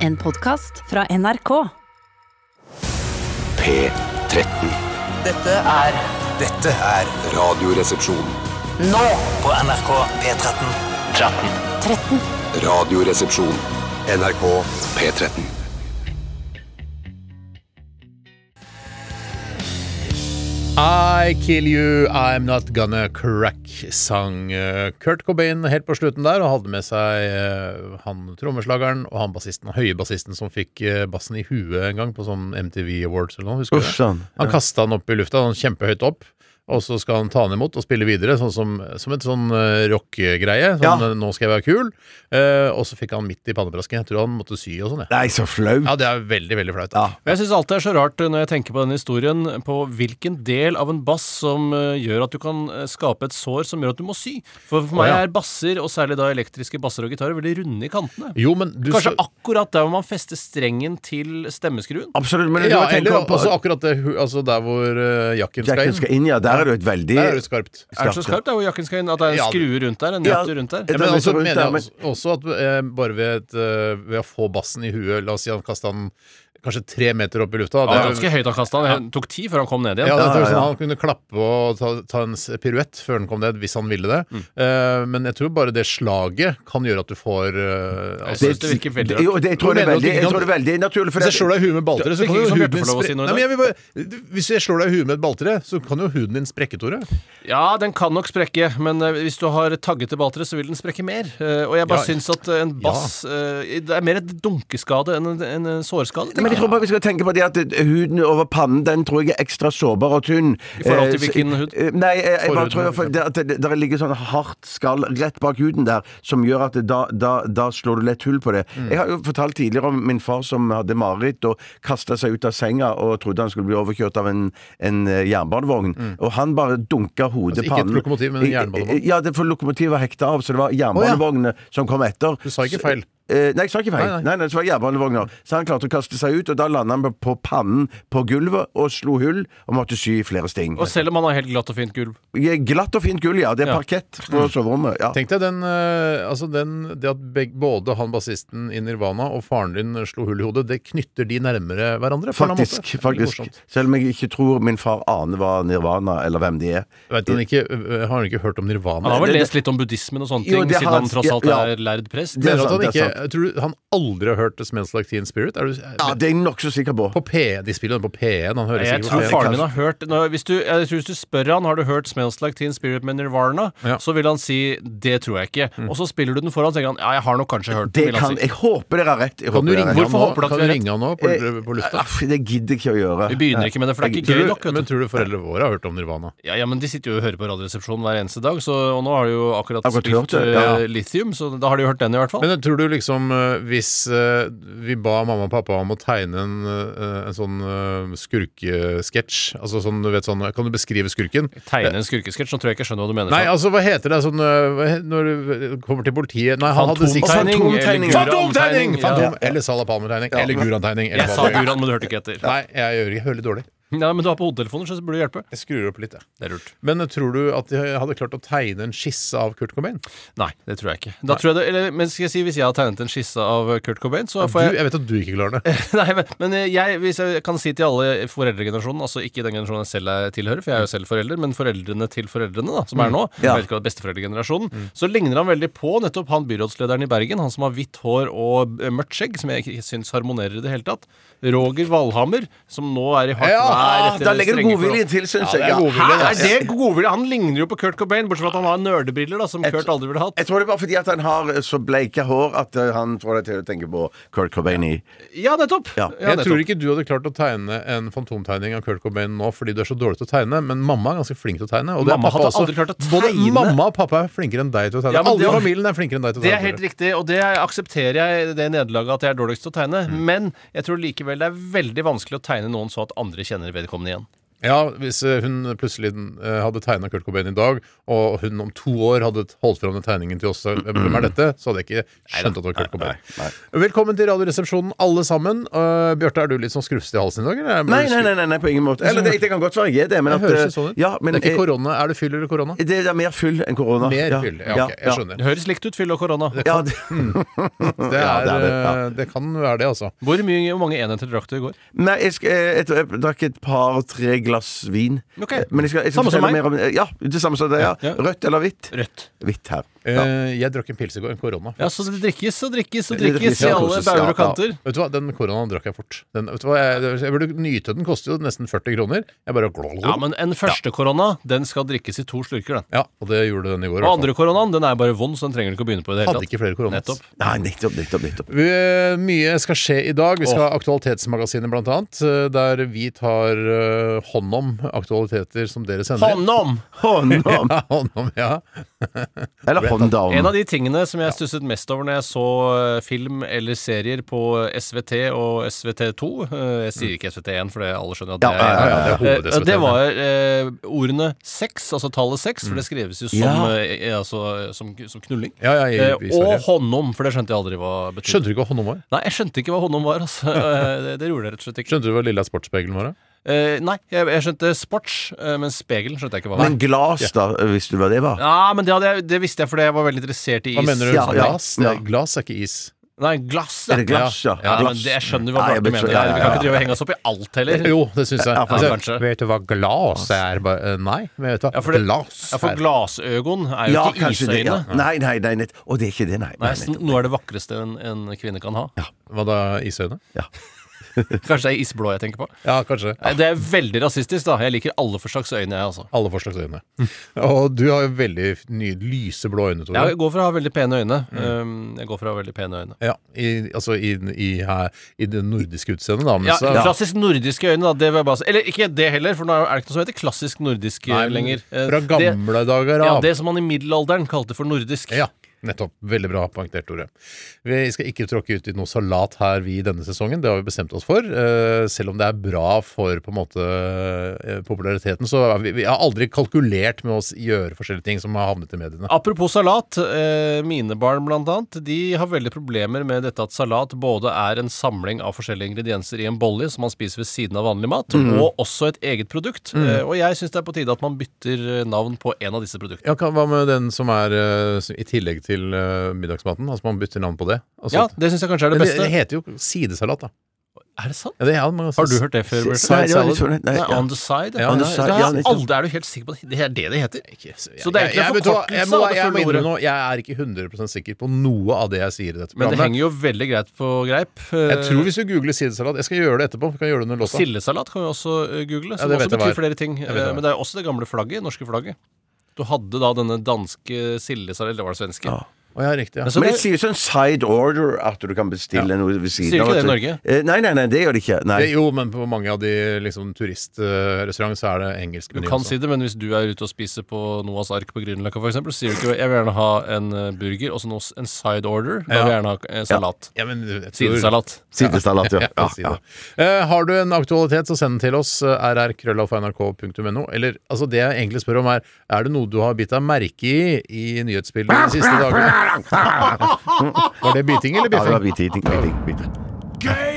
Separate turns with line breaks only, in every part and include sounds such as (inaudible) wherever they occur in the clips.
En podkast fra NRK.
P13.
Dette er
Dette er Radioresepsjon.
nå på NRK P13. 13.
Radioresepsjon. NRK P13.
I kill you, I'm not gonna crack, sang eh, Kurt Cobain helt på slutten der, og hadde med seg eh, han trommeslageren og han bassisten, høye bassisten som fikk eh, bassen i huet en gang på sånn MTV Awards eller noe, husker du
Uff,
det?
sann.
Han kasta den opp i lufta, sånn kjempehøyt opp, og så skal han ta den imot og spille videre, sånn som, som et sånn eh, rockegreie,
Ja.
sånn eh, 'nå skal jeg være kul', eh, og så fikk han midt i pannebrasken, jeg tror han måtte sy og sånn, jeg.
Nei, så flaut.
Ja, det er veldig, veldig flaut.
Ja.
Og Jeg syns alt er så rart eh, når jeg tenker på denne historien, på hvilken del av en bass som eh, gjør at du kan eh, skape et sår som gjør at du må sy. For for meg
ja.
er basser, og særlig da elektriske basser og gitarer, veldig runde i kantene.
Jo, men du
Kanskje
så-
akkurat der hvor man fester strengen til stemmeskruen.
Absolutt. Men
Ja,
du
eller
tenker på
også akkurat det, hu- altså der hvor eh, jakken skal
Jacken
inn.
skal inn, ja. Der er det jo et veldig
Der er det skarpt.
Er det så skarpt der hvor jakken skal inn? At det er en
Ja, det-
skrue rundt der? En
Ja.
nøtt rundt
Ja,
der?
Ja, men
litt
også
rundt
mener
der,
jeg
men-
også, også at eh, bare ved, et, eh, ved å få bassen i huet La oss si han kasta den kanskje tre meter opp i lufta.
Ja, det
er-
var ganske høyt han kasta den. Det tok ti før han kom ned
ja,
igjen.
det er
Ja, ja,
sånn
ja.
Han kunne klappe og ta, ta en s- piruett før den kom ned, hvis han ville det.
Mm.
Eh, men jeg tror bare det slaget kan gjøre at du får eh,
Jeg
altså,
synes det virker veldig
Jo,
rart.
det, jeg, tror
Du mener
det er
at
veldig,
ikke
jeg
kan-
tror det er veldig naturlig. For
Hvis jeg slår deg i huet med baltre, så kan
Det virker
jo huden
som Bjarte
din
får lov å
spre-
si noe i
Nei, men jeg vil bare- Hvis jeg slår deg i huet med et balltre, så kan jo huden din sprekke, Tore.
Ja, den kan nok sprekke, men eh, hvis du har taggete baltre, så vil den sprekke mer. Eh, Og jeg
Ja.
bare syns at eh, en bass eh, Det er mer et dunkeskade enn en, en eh, sårskade.
men jeg tror bare vi skal tenke på det at eh, huden over pannen Den tror jeg er ekstra sårbar og tynn. I
forhold til hvilken hud?
Nei, jeg, jeg bare
Forhuden,
tror for det, at det, der ligger sånn hardt skall rett bak huden der, som gjør at det, da, da, da slår du lett hull på det.
Mm.
Jeg har jo fortalt tidligere om min far som hadde mareritt og kasta seg ut av senga og trodde han skulle bli overkjørt av en, en eh, jernbanevogn. Og han bare dunka hodet
Mm. Altså, ikke et
pannen.
lokomotiv, men en
I- i-
jernbanevogn.
Ja, det, for lokomotivet var hekta av, så det var jernbanevognene som kom etter.
Du sa ikke
Så-
feil.
Eh, nei, jeg sa ikke feil.
Nei,
Nei, nei. det var jernbanevogner. Så han klarte å kaste seg ut, og da landa han på pannen på gulvet og slo hull og måtte sy flere sting.
Og selv om han har helt glatt og fint gulv.
Glatt og fint gull, ja. Det er
Ja.
parkett på soverommet. Ja.
Tenk deg den, eh, altså den, det at beg, både han bassisten i Nirvana og faren din slo hull i hodet, det knytter de nærmere hverandre. på en eller annen måte.
Faktisk.
Veldig
faktisk.
morsomt.
Selv om jeg ikke tror min far aner hva Nirvana eller hvem de er.
Vet han ikke, øh, har han ikke hørt om Nirvana?
Han har vel
det-
lest litt om buddhismen og sånne ting,
Jo, det
siden
har-
han tross alt
ja, ja.
er lærd prest.
Det- er
Mener at
sant,
han
det er
ikke, tror du han aldri har hørt The Smells Like Teen Spirit? Er du, eh,
Ja, det er jeg nokså sikker på.
På P, de spiller den på P1, han hører
Nei, Jeg
sikkert
tror
på P1.
faren min har hørt nå, hvis du, jeg tror hvis du spør han Har du hørt 'Smells Like Teen Spirit' med Nirvana,
Ja.
så vil han si 'det tror jeg ikke'. Og så spiller du den foran, tenker han 'ja, jeg har nok kanskje hørt
Det
den'. vil han
kan,
si.
jeg håper dere har rett. Jeg
Kan du
håper dere
ringe
har
han
rett.
Hvorfor
nå?
håper du at
Kan
vi
du
har
ringe han nå på,
Eh,
på lufta?
Aff, Det gidder ikke jeg å gjøre.
Vi begynner ikke med det, for det er ikke
Tror
gøy
du,
nok. vet
men
du.
tror du foreldrene våre har hørt om Nirvana?
Ja, ja, men de sitter jo og hører på Radioresepsjonen hver eneste dag, så, og nå har de jo akkurat
Akkurat hørt
spilt
det,
eh,
ja.
Lithium, så da har de jo hørt den i hvert fall.
Men tror du liksom eh, hvis eh, vi ba mamma og pappa om å tegne en, eh, en sånn eh, skurkesketsj Altså sånn, du vet sånn Kan du beskrive skurken?
Tegne en skurkesketsj, nå tror jeg ikke jeg skjønner hva du mener.
Nei,
Frank.
altså hva heter det sånn eh, hva he- når du kommer til politiet Nei, han hadde sikkert
Fantomtegning,
Fantomtegning,
eller
eller
Fantomtegning!
Guran-tegning,
Fantom,
ja.
Eller Salapalmer-tegning. Eller Guran-tegning. eller
Jeg sa
hva det er.
Guran, men du hørte ikke etter.
Nei, jeg gjør ikke hører litt dårlig.
Nei, men du har på hodetelefoner, så det burde hjelpe.
Jeg skrur opp litt, jeg.
Det er lurt.
Men eh, tror du at de hadde klart å tegne en skisse av Kurt Cobain?
Nei, det tror jeg ikke. Da tror jeg det, eller, men skal jeg si, hvis jeg har tegnet en skisse av eh, Kurt Cobain, så
Du,
får jeg
jeg vet at du ikke klarer det.
(laughs) Nei, men, men eh, jeg, hvis jeg kan si til alle i foreldregenerasjonen, altså ikke den generasjonen jeg selv er tilhører, for jeg er jo selv forelder, men foreldrene til foreldrene, da, som er nå,
Mm. Ja. Mm.
jeg vet ikke hva besteforeldregenerasjonen, så ligner han veldig på nettopp han byrådslederen i Bergen, han som har hvitt hår og eh, mørkt skjegg, som jeg ikke syns harmonerer i det hele tatt. Roger Valhammer, som nå er i hardt
Ja,
vær etter
da legger du
strenge forhold.
godviljen til, syns jeg.
det er
Ja.
godvilje,
Hæ, er det godvilje? Han ligner jo på Kurt Cobain, bortsett fra at han har nerdebriller, da, som Kurt aldri ville hatt.
Jeg tror det er bare fordi at han har så bleike hår at eh, han får deg til å tenke på Kurt Cobain i
Ja, nettopp!
Ja.
Jeg tror
nettopp.
ikke du hadde klart å tegne en fantomtegning av Kurt Cobain nå fordi du er så dårlig til å tegne, men mamma er ganske flink til å tegne. Og det er
Mamma
pappa
hadde
også.
aldri klart å
Både
tegne.
mamma og pappa er flinkere enn deg til å tegne.
Ja, men
Alle i
det-
familien er flinkere enn deg til å
Det
tegne.
er helt riktig, og det aksepterer jeg det nederlaget at jeg er
Mm.
dårligst til å tegne. Men jeg tror likevel det er veldig vanskelig å tegne noen så at andre kjenner vedkommende igjen.
Ja, hvis eh, hun plutselig eh, hadde tegna Kurt Cobain i dag, og hun om to år hadde holdt fram den tegningen til oss, eh, hvem er dette? Så hadde jeg ikke skjønt at det var Kurt Cobain. Velkommen til Radioresepsjonen, alle sammen. Eh, Bjarte, er du litt sånn skrufsete i halsen i dag? eller?
Nei, nei, nei, nei, nei, på ingen måte. Eller det, det kan godt være jeg er det, men
Det
at eh,
høres litt sånn ut.
Ja, men
det er, ikke
jeg-
korona. er det fyll eller korona?
det er mer fyll enn korona.
Mer fyll. Ja, ok, jeg skjønner.
Det høres likt ut, fyll og korona.
Ja, det,
Det, er,
Mm, Ja, det er det, ja.
eh, det kan være det, altså.
(laughs) Hvor, mye, hvor mange enheter drakk du i går?
nei, jeg, skal, eh, jeg, jeg, jeg drakk et par-tre glass vin. Eh,
Ok.
Men jeg skal, jeg skal
Samme som
fortelle
meg.
mer om eh, Ja, det samme som deg. Ja.
Ja.
Rødt eller hvitt?
Rødt.
Hvitt her. Ja.
Eh, Jeg drakk en pils i går, en korona.
Ja, Så det drikkes og drikkes og
Det drikkes,
drikkes i
ja,
alle
koses, ja,
bauger
ja.
og kanter.
Vet du hva, Den koronaen drakk jeg fort. Den, vet du hva, jeg, jeg burde nyte den. Koster jo nesten 40 kroner. Jeg bare
Ja, men en første korona, den skal drikkes i to slurker, den.
Ja, Og det gjorde den i går. i
Og
hvert fall.
andre koronaen, den er bare vond, så den trenger du ikke å begynne på i det
Hadde
hele
ikke
tatt.
flere koronas.
Nettopp.
Nei, nettopp, nettopp, nettopp.
Vi, eh, mye skal skje i dag. Vi skal ha Aktualitetsmagasinet, blant annet. eh, Der vi tar eh, hånd om aktualiteter som dere sender. inn.
Hånd om!
Håndom!
(laughs) Ja, hånd om, ja.
Eller
En
håndom.
av de tingene som jeg stusset mest over når jeg så eh, film eller serier på SVT og SVT2 eh, Jeg sier ikke SVT1, for det alle skjønner at det
Ja,
er
ja, ja,
Mm. ja, det er
Eh,
hoved-SVT1.
Det var eh, ordene sex, altså tallet sex, for det skreves jo som,
Ja.
eh, altså, som, som knulling.
Mm. Ja, ja, i- i
Eh, og
Sverige.
håndom, for det skjønte jeg aldri hva betydde.
Skjønte du ikke hva hånd om var?
Nei, jeg skjønte ikke hva håndom var. altså Eh, det, det gjorde jeg rett og slett ikke.
Skjønte du hva lilla sportsspegelen var? da?
Eh, nei, jeg, jeg skjønte sports, eh, men spegelen skjønte jeg ikke hva var.
Men glass, da, hvis du hva det var.
Ja, men det, hadde jeg, det visste jeg fordi jeg var veldig interessert i is.
Hva mener du?
Ja, ja,
glass? Nei,
ja.
glass er ikke is.
Nei, glass.
Er det glass, ja?
Ja, men
Glass.
det, jeg skjønner hva
Ja, jeg
Bjarte
betyr-
mener.
ja, ja,
Vi kan
ja.
ikke drive og henge oss opp i alt heller.
(laughs) Jo, det syns jeg. Altså,
kanskje.
vet du hva glass er? Bare, eh, Nei, men vet du hva?
Ja, for det-
glass
Ja, for
er-
glasøgon er jo
Ja,
ikke
kanskje det.
isøyne.
Ja. Nei, nei, nei. nett- Å, det er ikke det, nei.
Nei,
nei,
så
nettopp.
Noe er det vakreste en, en kvinne kan ha.
Hva da? Isøyne?
(laughs) Kanskje det er isblå jeg tenker på.
Ja, kanskje.
Nei, Det er veldig rasistisk, da. Jeg liker alle for slags øyne, jeg, altså.
Alle forslags
(laughs)
øyne. Og du har jo veldig nye, lyseblå øyne, Tore.
Jeg går for å ha veldig pene øyne.
Mm.
Um, Jeg går for å ha veldig pene øyne.
Ja, i, altså i, i, her, i det nordiske utseendet, da. Men
Ja,
så,
klassisk nordiske øyne, da. Det vil jeg bare si. Eller ikke det heller, for nå er det ikke noe som heter klassisk nordisk eh,
Nei, men
lenger. Eh,
Fra
det,
gamle dager
ja,
av.
det som man i middelalderen kalte for nordisk.
Ja, nettopp. Veldig bra poengtert, Tore. Vi skal ikke tråkke ut i noe salat her vi denne sesongen, det har vi bestemt oss for. Eh, Selv om det er bra for på en måte eh, populariteten, så har vi, vi har aldri kalkulert med å s- gjøre forskjellige ting som har havnet i mediene.
Apropos salat, eh, mine barn blant annet, de har veldig problemer med dette at salat både er en samling av forskjellige ingredienser i en bolle som man spiser ved siden av vanlig mat, og også et eget produkt. Eh, og jeg syns det er på tide at man bytter eh, navn på en av disse produktene.
Ja, hva hva med den som er eh, s- i tillegg til eh, middagsmaten? Altså man bytter navn på det. Altså,
Ja, det syns jeg kanskje er
men
det
det,
beste.
det heter jo sidesalat, da.
Er det sant?
Ja, altså det er, man,
Har du hørt det før? Bjørte?
Nei, det var litt sånn- nei,
Nei,
ja.
On the side?
Ja,
on the
Nei,
side,
det
ja,
er
nettopp.
aldri- er du helt sikker på at det er det det heter? Så det er ikke
Jeg- jeg- vet du
en
hva, jeg
forkortelse
må-
av det
Jeg må
fulle ordet.
innrømme nå, jeg er ikke 100 sikker på noe av det jeg sier i dette
Men det
programmet.
henger jo veldig greit på greip.
Jeg tror hvis du googler sidesalat Jeg skal gjøre det etterpå. Kan jeg gjøre det under låta.
Sildesalat kan vi også eh, google, som
det vet
også
jeg hva
betyr
er.
flere ting.
vet hva
Eh,
er.
Men det er jo også det gamle flagget, norske flagget. Du hadde da denne danske sildesalat, eller var det svenske?
Å, ja, riktig, ja.
Men så
Men
det,
de sier sånn side order at du kan bestille noe ved siden
Sier ikke det i
at-
Norge?
Eh, Nei, nei, nei, det gjør de ikke. Nei.
Det- jo, men på mange av de liksom, turistrestaurantene så er det engelsk
du
meny.
kan
også.
si det, men hvis du er ute og spiser på Noas ark på Grünerløkka f.eks., så sier du ikke 'jeg vil gjerne ha en eh, burger', og så noe s- en side order. Da vil jeg gjerne ha eh, salat.
ja, men, jeg tror-
Sidesalat.
Sidesalat, ja.
Ja,
ja,
si
ja.
det. Eh, har du en aktualitet, så send den til oss. eh, rrkrøllalfa.nrk.no. Eller altså, det jeg egentlig spør om, er Er det noe du har bitt deg merke i i nyhetsbildet de siste dagene? Var det biting eller
Ja, det var
biffing?
biting, biting, biting.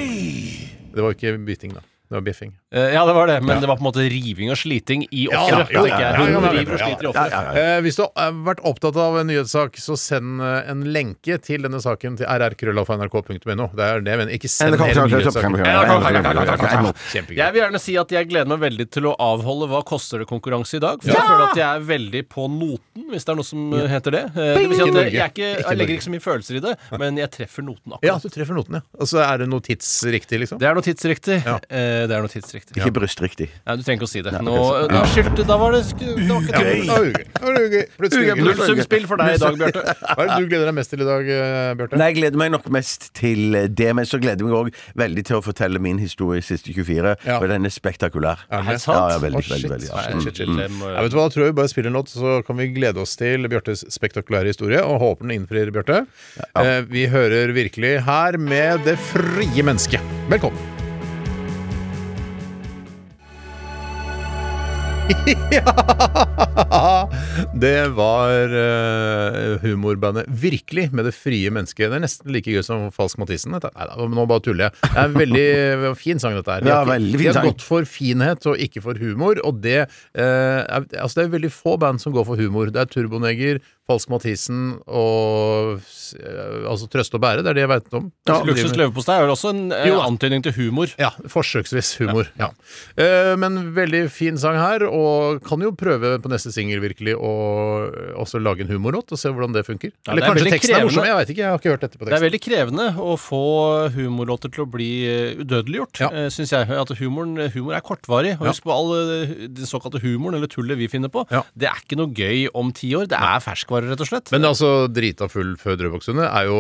Det var ikke biting, da. Det var biffing.
Eh, Ja, det var det, men det var på en måte riving og sliting i
Ja,
offeret.
ja,
At det ikke
ja,
er
ja, ja,
Hun
ja, ja,
river og
ja,
sliter i
Ja,
offeret.
ja, ja.
Eh, hvis du har vært opptatt av en nyhetssak, så send eh, en lenke til denne saken til rrkrøllalfa.nrk.no. Det er det jeg mener. Ikke send hele nyhetssaken. Kjempegøy.
Jeg vil gjerne si at jeg gleder meg veldig til å avholde Hva koster det-konkurranse i dag. For jeg føler at jeg er veldig på noten, hvis det er noe som eh, heter det. Eh, det vil si
Ikke
at
Norge.
jeg, er
Ikke
ikke, jeg legger
Norge.
ikke så mye følelser i det, men jeg treffer noten
Ja,
akkurat.
du treffer noten, ja. Og så er det noe tidsriktig, liksom?
Det er noe tidsriktig.
Ja.
Eh, Det er noe tidsriktig.
Ikke brystriktig.
Nei, du trenger ikke å si det. Nå, da skyldte Da var det sku- det var ikke
Gøy!
tanken. Nullsumspill for deg i dag, Bjarte.
Hva er det du gleder deg mest til i dag, eh, Bjarte?
Nei, jeg gleder meg nok mest til det, men så gleder jeg meg òg veldig til å fortelle min historie i siste 24,
Ja.
for den er spektakulær.
Er det
sant?
Ja, ja,
Å,
veldig,
shit.
veldig, veldig.
Nei,
ja. Mm,
shit, shit.
Det må jeg-
Ja, vet du hva, da tror jeg vi bare spiller en låt, så kan vi glede oss til Bjørtes spektakulære historie, og håper den innfrir, Bjarte. Eh, vi hører virkelig her med Det frie mennesket. Velkommen. (laughs) Ja! Det var eh, humorbandet Virkelig med det frie mennesket. Det er nesten like gøy som Falsk Mathisen. Dette. Nei, da, nå bare tuller jeg. Det er en veldig (laughs) eh, fin sang, dette her. De
Ja,
har-
veldig fin
de har
sang.
gått for finhet og ikke for humor, og det eh, er, Altså, det er veldig få band som går for humor. Det er Turboneger, Falsk Mathisen og eh, Altså Trøste og bære, det er det jeg veit om. Som driver-
Luksus leverpostei er vel også en eh,
Jo da.
antydning til humor.
ja, forsøksvis humor. Ja. Eh, men veldig fin sang her, og kan jo prøve på neste singel virkelig å eh, også lage en humorlåt, og se hvordan det funker.
Ja,
Eller
det er
kanskje
veldig
teksten er
krevende.
morsom, jeg veit ikke, jeg har ikke hørt dette på
Det er
teksten.
veldig krevende å få humorlåter til å bli eh, udødeliggjort,
Ja.
ja. syns jeg. At humoren, humor er kortvarig. Og
Ja.
husk på all eh, den såkalte humoren, eller tullet vi finner på.
Ja.
Det er ikke noe gøy om ti år. Det er ferskvare, rett og slett.
Men altså, drita full før Drøbaksundet er jo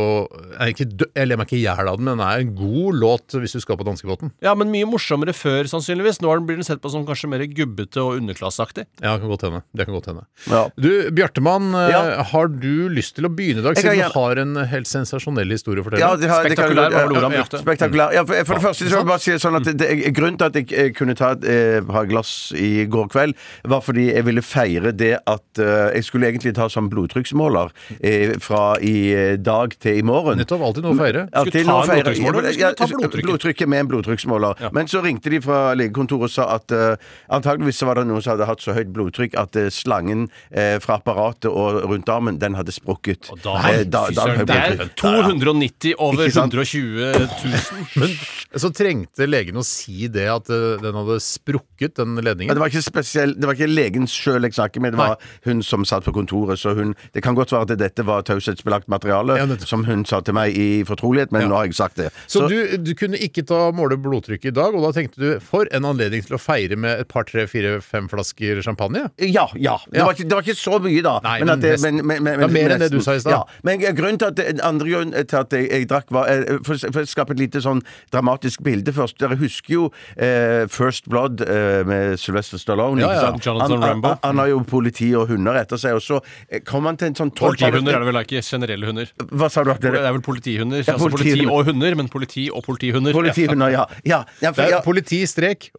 er ikke, dø- Jeg ler meg ikke i hjel av den, men den er en god låt hvis du skal på danskebåten.
ja, men mye morsommere før, sannsynligvis. Nå er den- blir den sett på som kanskje mer gubbete og underklasseaktig.
Ja, det kan godt hende. Det kan godt hende.
Mm. Ja.
Du, Bjartemann, eh,
Ja.
har du lyst til å begynne i dag,
Jeg
siden
kan
du har en helt sensasjonell historie å fortelle?
Ja, det har- det kan jeg
Spektakulær
godt-
var vel ordet han
ja,
brukte.
Spektakulær. Ja, for, for det første så vil jeg bare si det sånn at det, det, Grunnen til at jeg eh, kunne ta et eh, par glass i går kveld, var fordi jeg ville feire det at eh, Jeg skulle egentlig ta sånn blodtrykksmåler eh, fra i eh, dag til i morgen.
Nettopp. Alltid noe å feire.
Ja,
Skulle
til
ta
nå
en
feirer-
blodtrykksmåler, eller skulle
Ja,
du ta blodtrykket?
Blodtrykket med en blodtrykksmåler. Men så ringte de fra legekontoret og sa at eh, antageligvis så var det noen som hadde hatt så høyt blodtrykk at eh, slangen eh, fra apparatet og rundt armen, den hadde sprukket.
Og da,
Eh, da,
fy
da,
søren,
hadde
det
jeg
er
blodtrykk.
290 over
Ikke sant?
120 000.
Men så trengte legen å si det at eh, den hadde sprukket, den
Men
ledningen.
det var ikke spesiell, det var ikke legen sjøl jeg snakket med, det var hun som satt på kontoret. Så hun, det kan godt være at dette var taushetsbelagt materiale
Ja, nettopp.
som hun sa til meg i fortrolighet, men nå har jeg sagt det.
Så,
Så,
du, du kunne ikke ta måle blodtrykket i dag, og da tenkte du for en anledning til å feire med et par, tre, fire, fem flasker champagne?
ja, ja. Det,
Ja.
Var ikke, det var ikke så mye, da.
Nei,
at
men
det,
nesten. Det var mer enn det du
nesten.
sa i stad.
Ja. Men eh, grunnen til at det, andre grunn til at jeg, jeg drakk, var eh, for, for å skape et lite sånn dramatisk bilde først. Dere husker jo eh, First Blood eh, med Sylvester Stallone.
Ja,
ikke
ja.
sant? han,
Jonathan
han,
Rambo.
han, han har jo politi og hunder etter seg, og så eh, kom han til en sånn
Politihunder er det vel ikke generelle hunder.
Hva sa du? at
Det
dere-
er vel politihunder.
Ja,
altså politi
politihunder.
og hunder, men politi og politihunder.
Politihunder, ja. ja, ja, for,
Det
ja.
er politi, strek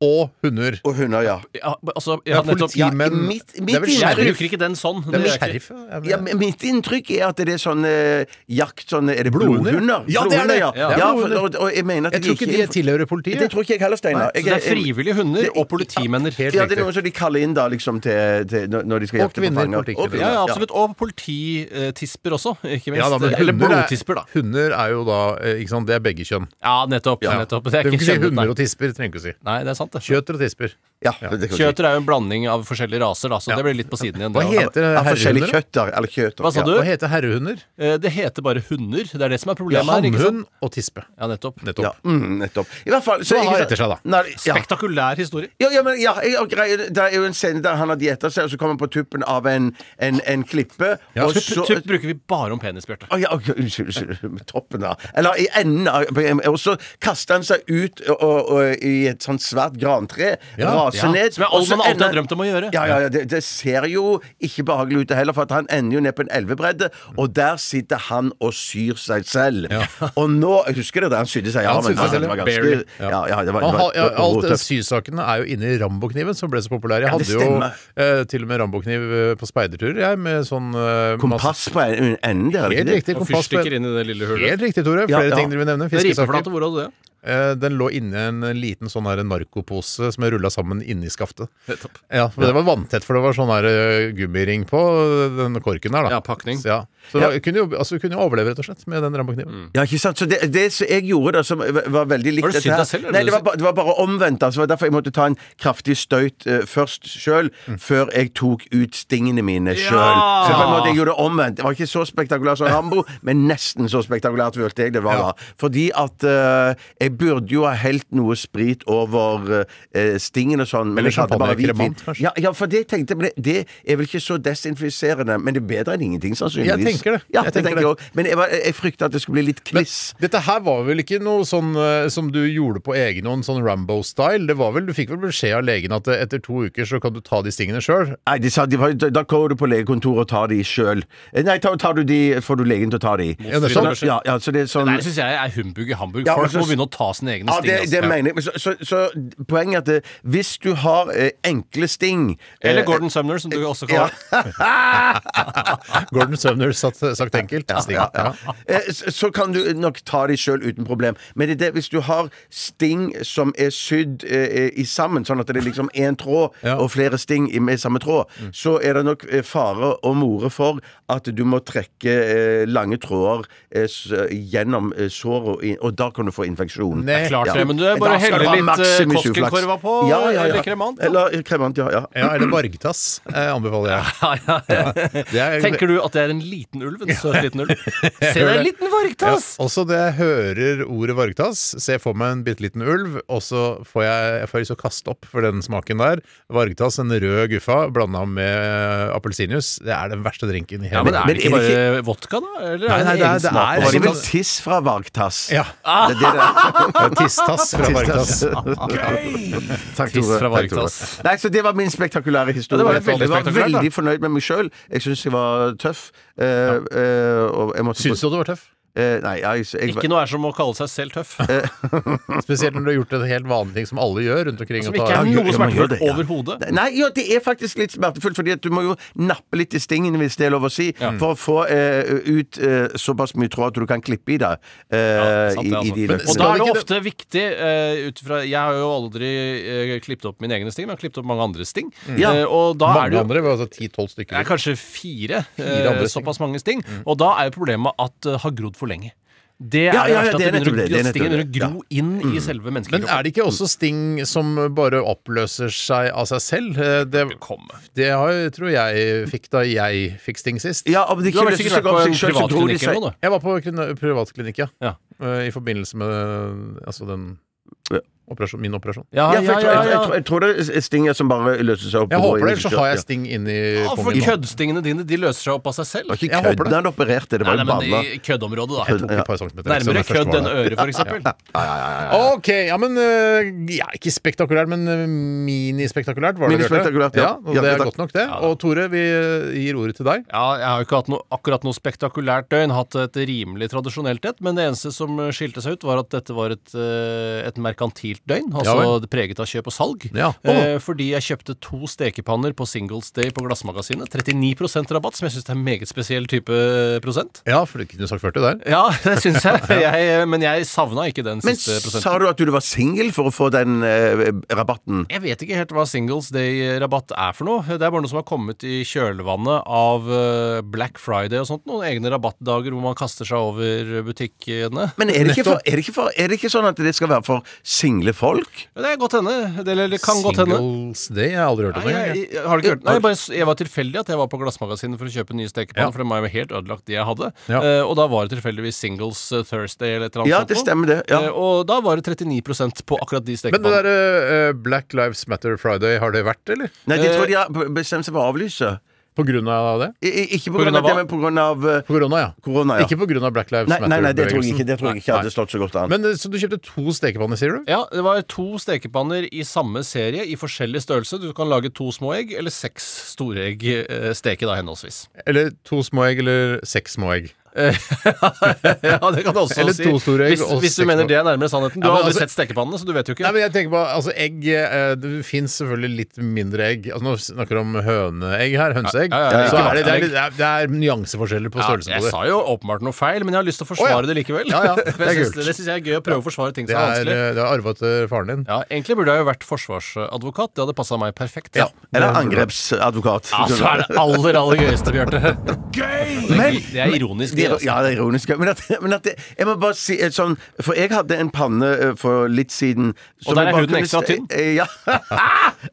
og hunder.
Og hunder, ja.
Ja, altså, jeg
Ja,
hadde nettopp
politi, men
mitt- mitt
Det er vel
inntrykk-
Jeg
sheriff?
bruker ikke den sånn.
Det er vel
gjør jeg ikke.
sheriff? ja, men-
Ja, men mitt inntrykk er at det er sånn eh, jakt sånn, Er det
Blodhunder?
blodhunder?
Ja, det er det.
Blodhunder,
Ja,
ja,
det er
for, og, og jeg mener at
Jeg tror ikke de tilhører politiet.
Det tror ikke jeg heller, Steinar.
Så det er frivillige hunder og politimenner.
Helt
Ja, det er
riktig.
noen som de kaller inn da, liksom, til, til, når- når de skal
Og
jakte på
kvinner,
fanger.
politikere.
Og kvinner,
Ja, ja, absolutt. Og polititisper også, ikke minst.
Ja, da, men
Eller
hunder er-
blodtisper, da.
Hunder er jo da eh, ikke sant, Det er begge kjønn.
Ja, nettopp. nettopp. Det
Du
er
kan
ikke
ikke si
kjønnet,
hunder
nei.
og tisper. trenger du ikke å si
Nei, det er sant, det.
Kjøter og tisper.
Ja, det kan jeg si.
Kjøter er jo en blanding av forskjellige raser, da, så
Ja.
det blir litt på siden igjen.
Hva
det, da.
heter
Av forskjellige
herrehunder? da?
kjøtter. Eller kjøter.
Hva sa du?
Hva heter herrehunder?
Eh, det heter bare hunder. Det er det som er problemet her. ikke sant?
Hannhund og tispe.
Ja, nettopp.
Ja,
Nettopp.
ja mm, nettopp. I hvert fall så,
Hva har
ikke sant-
etter seg, da?
Nei, ja.
Spektakulær historie.
Ja, ja, men ja, jeg, og greier, Det er jo en scene der han har de etter seg, og så kommer han på tuppen av en, en, en klippe.
Ja,
og
tupp-
så,
Tupp tupp bruker vi bare om penis, Bjarte.
Å, ja, ok, unnskyld, unnskyld. Toppen, da. Eller i enden av Og så kaster han seg ut og, og, og, i et sånt svært grantre.
Ja,
raser
ja.
ned.
Som jeg
og så
alltid, alltid har
ender-
drømt om å gjøre.
Ja, ja, ja det, det ser jo ikke behagelig ut det heller, for at han ender jo ned på en elvebredde, og der sitter han og syr seg selv. Og nå jeg Husker dere da han sydde seg i
Ja, han
armen?
sydde seg selv,
det var
ja.
ganske
Barely.
Ja, ja, det var,
Man
det
har,
var,
ja,
det var
alt det
rotøft.
sysakene er jo inne i Rambokniven, som ble så populær. Jeg
Ja,
hadde
det
jo
stemmer.
eh, til og med Rambokniv eh, på speiderturer, jeg, med sånn eh,
Kompass på en- enden der, er
masse-
det
Helt
ikke det?
riktig. Kompass
Og
på
fyrstikker inn i det lille hullet.
Helt riktig, Tore.
Ja,
Flere
ja.
ting dere vil nevne.
Det er ripeflate,
Fiskesaker.
hvor hadde du det?
Eh, Den lå inni en liten sånn her narkopose som jeg rulla sammen inni skaftet.
Nettopp.
Ja, for Det var vanntett, for det var sånn her eh, gummiring på den korken der. da
Ja, pakning.
Så, ja. så du kunne jo, altså, du kunne jo overleve, rett og slett, med den rambokniven.
Ja, ikke sant? Så det, det som jeg gjorde da, som var veldig likt
Har du sydd
dette her
deg selv, eller
Nei,
du
det var,
sydd?
ba- det var bare omvendt. Altså, det var derfor jeg måtte ta en kraftig støyt eh, først sjøl, før jeg tok ut stingene mine sjøl.
Ja!
Så på en måte jeg gjorde det omvendt. Det var ikke så spektakulært som Rambo, men nesten så spektakulært følte jeg det var da. Fordi at eh, jeg burde jo ha helt noe sprit over eh, stingen og sånn, men
Eller
jeg hadde bare
champagne,
hvitvin.
kremant, kanskje?
Ja, ja, for det tenkte jeg men det- Det er vel ikke så desinfiserende, men det er bedre enn ingenting, sannsynligvis.
Jeg tenker det.
Ja,
Jeg
det
tenker
tenker jeg også. Men jeg, var- jeg frykta at det skulle bli litt kliss.
Dette her var vel ikke noe sånn eh, som du gjorde på egen hånd, sånn Rambo-style? Det var vel, Du fikk vel beskjed av legen at eh, etter to uker så kan du ta de stingene sjøl?
Nei, de sa, de, var- da- da går du på legekontoret og tar de sjøl. Nei, tar, tar du de, får du legen til å ta de.
det er
Sånn,
Motstridende beskjed.
ja, ja, så det er sånn
Nei, det syns jeg er humbug i Hamburg.
Ja,
Folk
altså,
må begynne å ha sine egne
Ja,
sting.
det,
altså.
det
Ja.
mener jeg. Men Så, så, så poenget er at det, hvis du har eh, enkle sting eh,
Eller Gordon Sumner, som du også kaller
Gordon Sumner satt, eh, sagt enkelt. Sting.
ja, ja. Eh, s- Så kan du nok ta de sjøl uten problem. Men det er det, hvis du har sting som er sydd eh, eh, i sammen, sånn at det er liksom én
(laughs)
tråd
Ja.
og flere sting i- med samme tråd,
Mm.
så er det nok eh, fare og more for at du må trekke eh, lange tråder eh, s- gjennom eh, såret, og i- og da kan du få infeksjon.
Nei.
Klart
Ja.
det, men du
Da
bare
skal
heller
du ha
litt eh,
maksimus uflaks.
Koskenkorva på,
Ja, ja, ja.
eller kremant. da.
Eller eh, kremant, ja. ja.
Ja, eller vargtass eh, anbefaler jeg.
(laughs) Ja, ja.
Det er-
Tenker du at det er en liten ulv? En søt liten
(laughs)
ulv? Se, det er en liten
Ja,
vargtass!
også det jeg hører ordet vargtass, ser jeg for meg en bitte liten ulv, og så får jeg, jeg får lyst til å kaste opp for den smaken der. Vargtass, en rød guffa blanda med appelsinjuice, det er den verste drinken i
Ja,
hele
men er
Men
det ikke
er det
bare vodka, da? Eller
Nei,
er
nei,
det sånn?
det er- det
egen smak
er-
på
Det er
vargtass?
vel tiss fra Vargtass.
Ja.
Det er det det er.
Tisstass
(laughs)
fra vargtass.
Tiss, Takk,
Tiss
Tore.
fra
Takk, Tore.
Vargtass.
Nei, så det var min spektakulære historie.
Ja, det var veldig
jeg var
spektakulært, da.
veldig fornøyd med meg sjøl. Jeg syns jeg var tøff. eh, eh, og jeg måtte
Syns du du var tøff?
Eh, nei, jeg, jeg,
Ikke noe er som å kalle seg selv tøff.
Spesielt når du har gjort en helt vanlig ting som alle gjør rundt omkring.
Som
og tar-
ikke er
jo, ja, man
noe
gjør
smertefullt
det, ja.
overhodet.
Nei, jo, det er faktisk litt smertefullt, fordi at du må jo nappe litt i stingene, hvis det er lov å si, for å få eh, ut eh, såpass mye tråd at du kan klippe i det. eh, i, i
Sant, det,
de
altså.
løpene.
Og
Skal
da er det
vi ikke
ofte viktig eh, ut fra Jeg har jo aldri uh, klippet opp mine egne sting, men jeg har klippet opp mange andres sting.
Ja.
Eh, og da er
Mange
det jo
andre, altså ti-tolv stykker.
det er kanskje fire,
Fire andre
eh,
sting.
såpass mange sting.
Mm.
Og da er jo problemet at det har grodd for lenge. Det er
Ja, ja, ja,
verst at
det er
det begynner,
nettopp det, det Mm. er
å- at stingen
nettopp
begynner å gro inn i selve
Men
menneskekroppen.
er det ikke også sting som bare oppløser seg av seg selv? Eh, Det, det har, tror jeg fikk da jeg fikk sting sist.
Ja, om det
Du har
ikke
vel
løser
sikkert
seg
vært
opp
på en
seg selv, så tror de
privatklinikk
seg
eller noe, da?
Jeg var på krin- privatklinikk, ja.
Ja.
Eh, I forbindelse med eh, altså den operasjon, min operasjon.
Ja,
Ja, for
ja,
jeg, tror-
ja,
jeg,
ja.
tror- jeg tror det er stinger som bare løser seg opp.
Jeg
og går
håper det,
inn i
ellers
seg
så har jeg
selv, ja.
sting inni
Ja, for
pungen.
køddstingene dine de løser seg opp av seg selv.
Det var
Jeg
ikke
håper det.
kødd da han opererte, det
Nei,
var jo
nei, men
balla.
i køddområdet, da.
Tok et par centimeter ekstra
Nærmere
når jeg først
kødd enn
var der.
øre, for eksempel.
Ok, ja, men eh, ja, ikke spektakulært, men eh, minispektakulært var det. Bjarte.
Minispektakulært, ja.
og
Ja,
Det er
takk.
godt nok, det. Og Tore, vi eh, gir ordet til deg.
Ja, jeg har jo ikke hatt noe, akkurat noe spektakulært døgn, hatt et rimelig tradisjonelt et, men det eneste som skilte seg ut, var at dette var et, eh, et merkantilt døgn, altså
Ja vel.
det preget av kjøp og salg.
Ja.
Eh, fordi jeg kjøpte to stekepanner på Singles Day på Glassmagasinet. 39 rabatt, som jeg syns er en meget spesiell type prosent.
Ja, for du kunne sagt 40 der.
Ja, (laughs) det syns
(laughs)
jeg. jeg, men jeg savna ikke den
Men
siste prosenten.
sa du at du var singel for å få den eh, rabatten?
Jeg vet ikke helt hva Singles Day-rabatt er for noe. Det er bare noe som har kommet i kjølvannet av eh, Black Friday og sånt. Noen egne rabattdager hvor man kaster seg over butikkene.
Men er det, ikke for, er, det ikke for, er det ikke sånn at det skal være for single folk?
Ja, Det er godt hende. Det, eller det kan godt hende.
Singles Day, jeg har aldri hørt om
Nei,
det.
jeg,
engang, jeg.
jeg, har du ikke hørt? Nei, jeg, bare, jeg var tilfeldig at jeg var på Glassmagasinet for å kjøpe nye stekepanner,
Ja.
for den var jo helt ødelagt, de jeg hadde.
Ja.
Eh, og da var det tilfeldigvis Singles eh, Thursday eller et eller annet.
Ja,
sånt
det
noe.
stemmer det. Ja.
Eh, og da var det 39 på akkurat
Men
de
det
stekepannene.
derre eh, Black Lives Matter Friday, har det vært, eller?
Nei,
Eh,
de tror de har b- bestemt seg for å avlyse.
På grunn av det?
I, i, ikke
På
på grunn av
grunn av
det,
hva?
men på grunn av eh,
På korona, ja.
korona, ja.
Ikke på grunn av Black Lives
Nei,
Matter.
nei, nei, det tror jeg ikke,
bevegelsen.
det tror jeg ikke hadde slått så godt an.
Men eh, Så du kjøpte to stekepanner, sier du?
Ja, det var to stekepanner i samme serie i forskjellig størrelse. Du kan lage to små egg eller seks store egg eh, steke da henholdsvis. (laughs)
Eller to små egg, eller seks små egg?
ja, det kan du også
Eller
si.
to store egg
hvis,
og
hvis du
seks
mener
små.
det er nærmere sannheten. Du
Ja, men
har aldri
altså-
sett stekepannene, så du vet jo ikke.
Nei, men jeg tenker på, altså Egg eh, Det fins selvfølgelig litt mindre egg. Altså Nå snakker vi om høneegg her. Hønseegg.
Ja, ja, ja, ja.
Så
Ikke
er det, det, er,
hvateegg.
litt- det, er, det er nyanseforskjeller på
Ja,
størrelsen
jeg
på det.
sa jo åpenbart noe feil, men jeg har lyst til å forsvare
Å, ja.
det likevel. (laughs)
Ja, ja,
For jeg
det er
synes-
kult.
Det syns jeg er gøy å prøve å forsvare ting
Det
som er
er,
vanskelig.
eh, det er arva til faren din.
Ja, Egentlig burde jeg jo vært forsvarsadvokat. Det hadde passa meg perfekt.
Ja. Eller angrepsadvokat.
Ja, så er det aller, aller gøyeste, Bjarte. Gøy! Det er ironisk.
Det,
det,
er-
altså.
ja, det er ironisk. Men, at, men at det, jeg må bare si eh, sånn For jeg hadde en panne eh, for litt siden som
der er
jeg bare
huden
kunne
ekstra
st-
tynn.
eh, Ja. (laughs)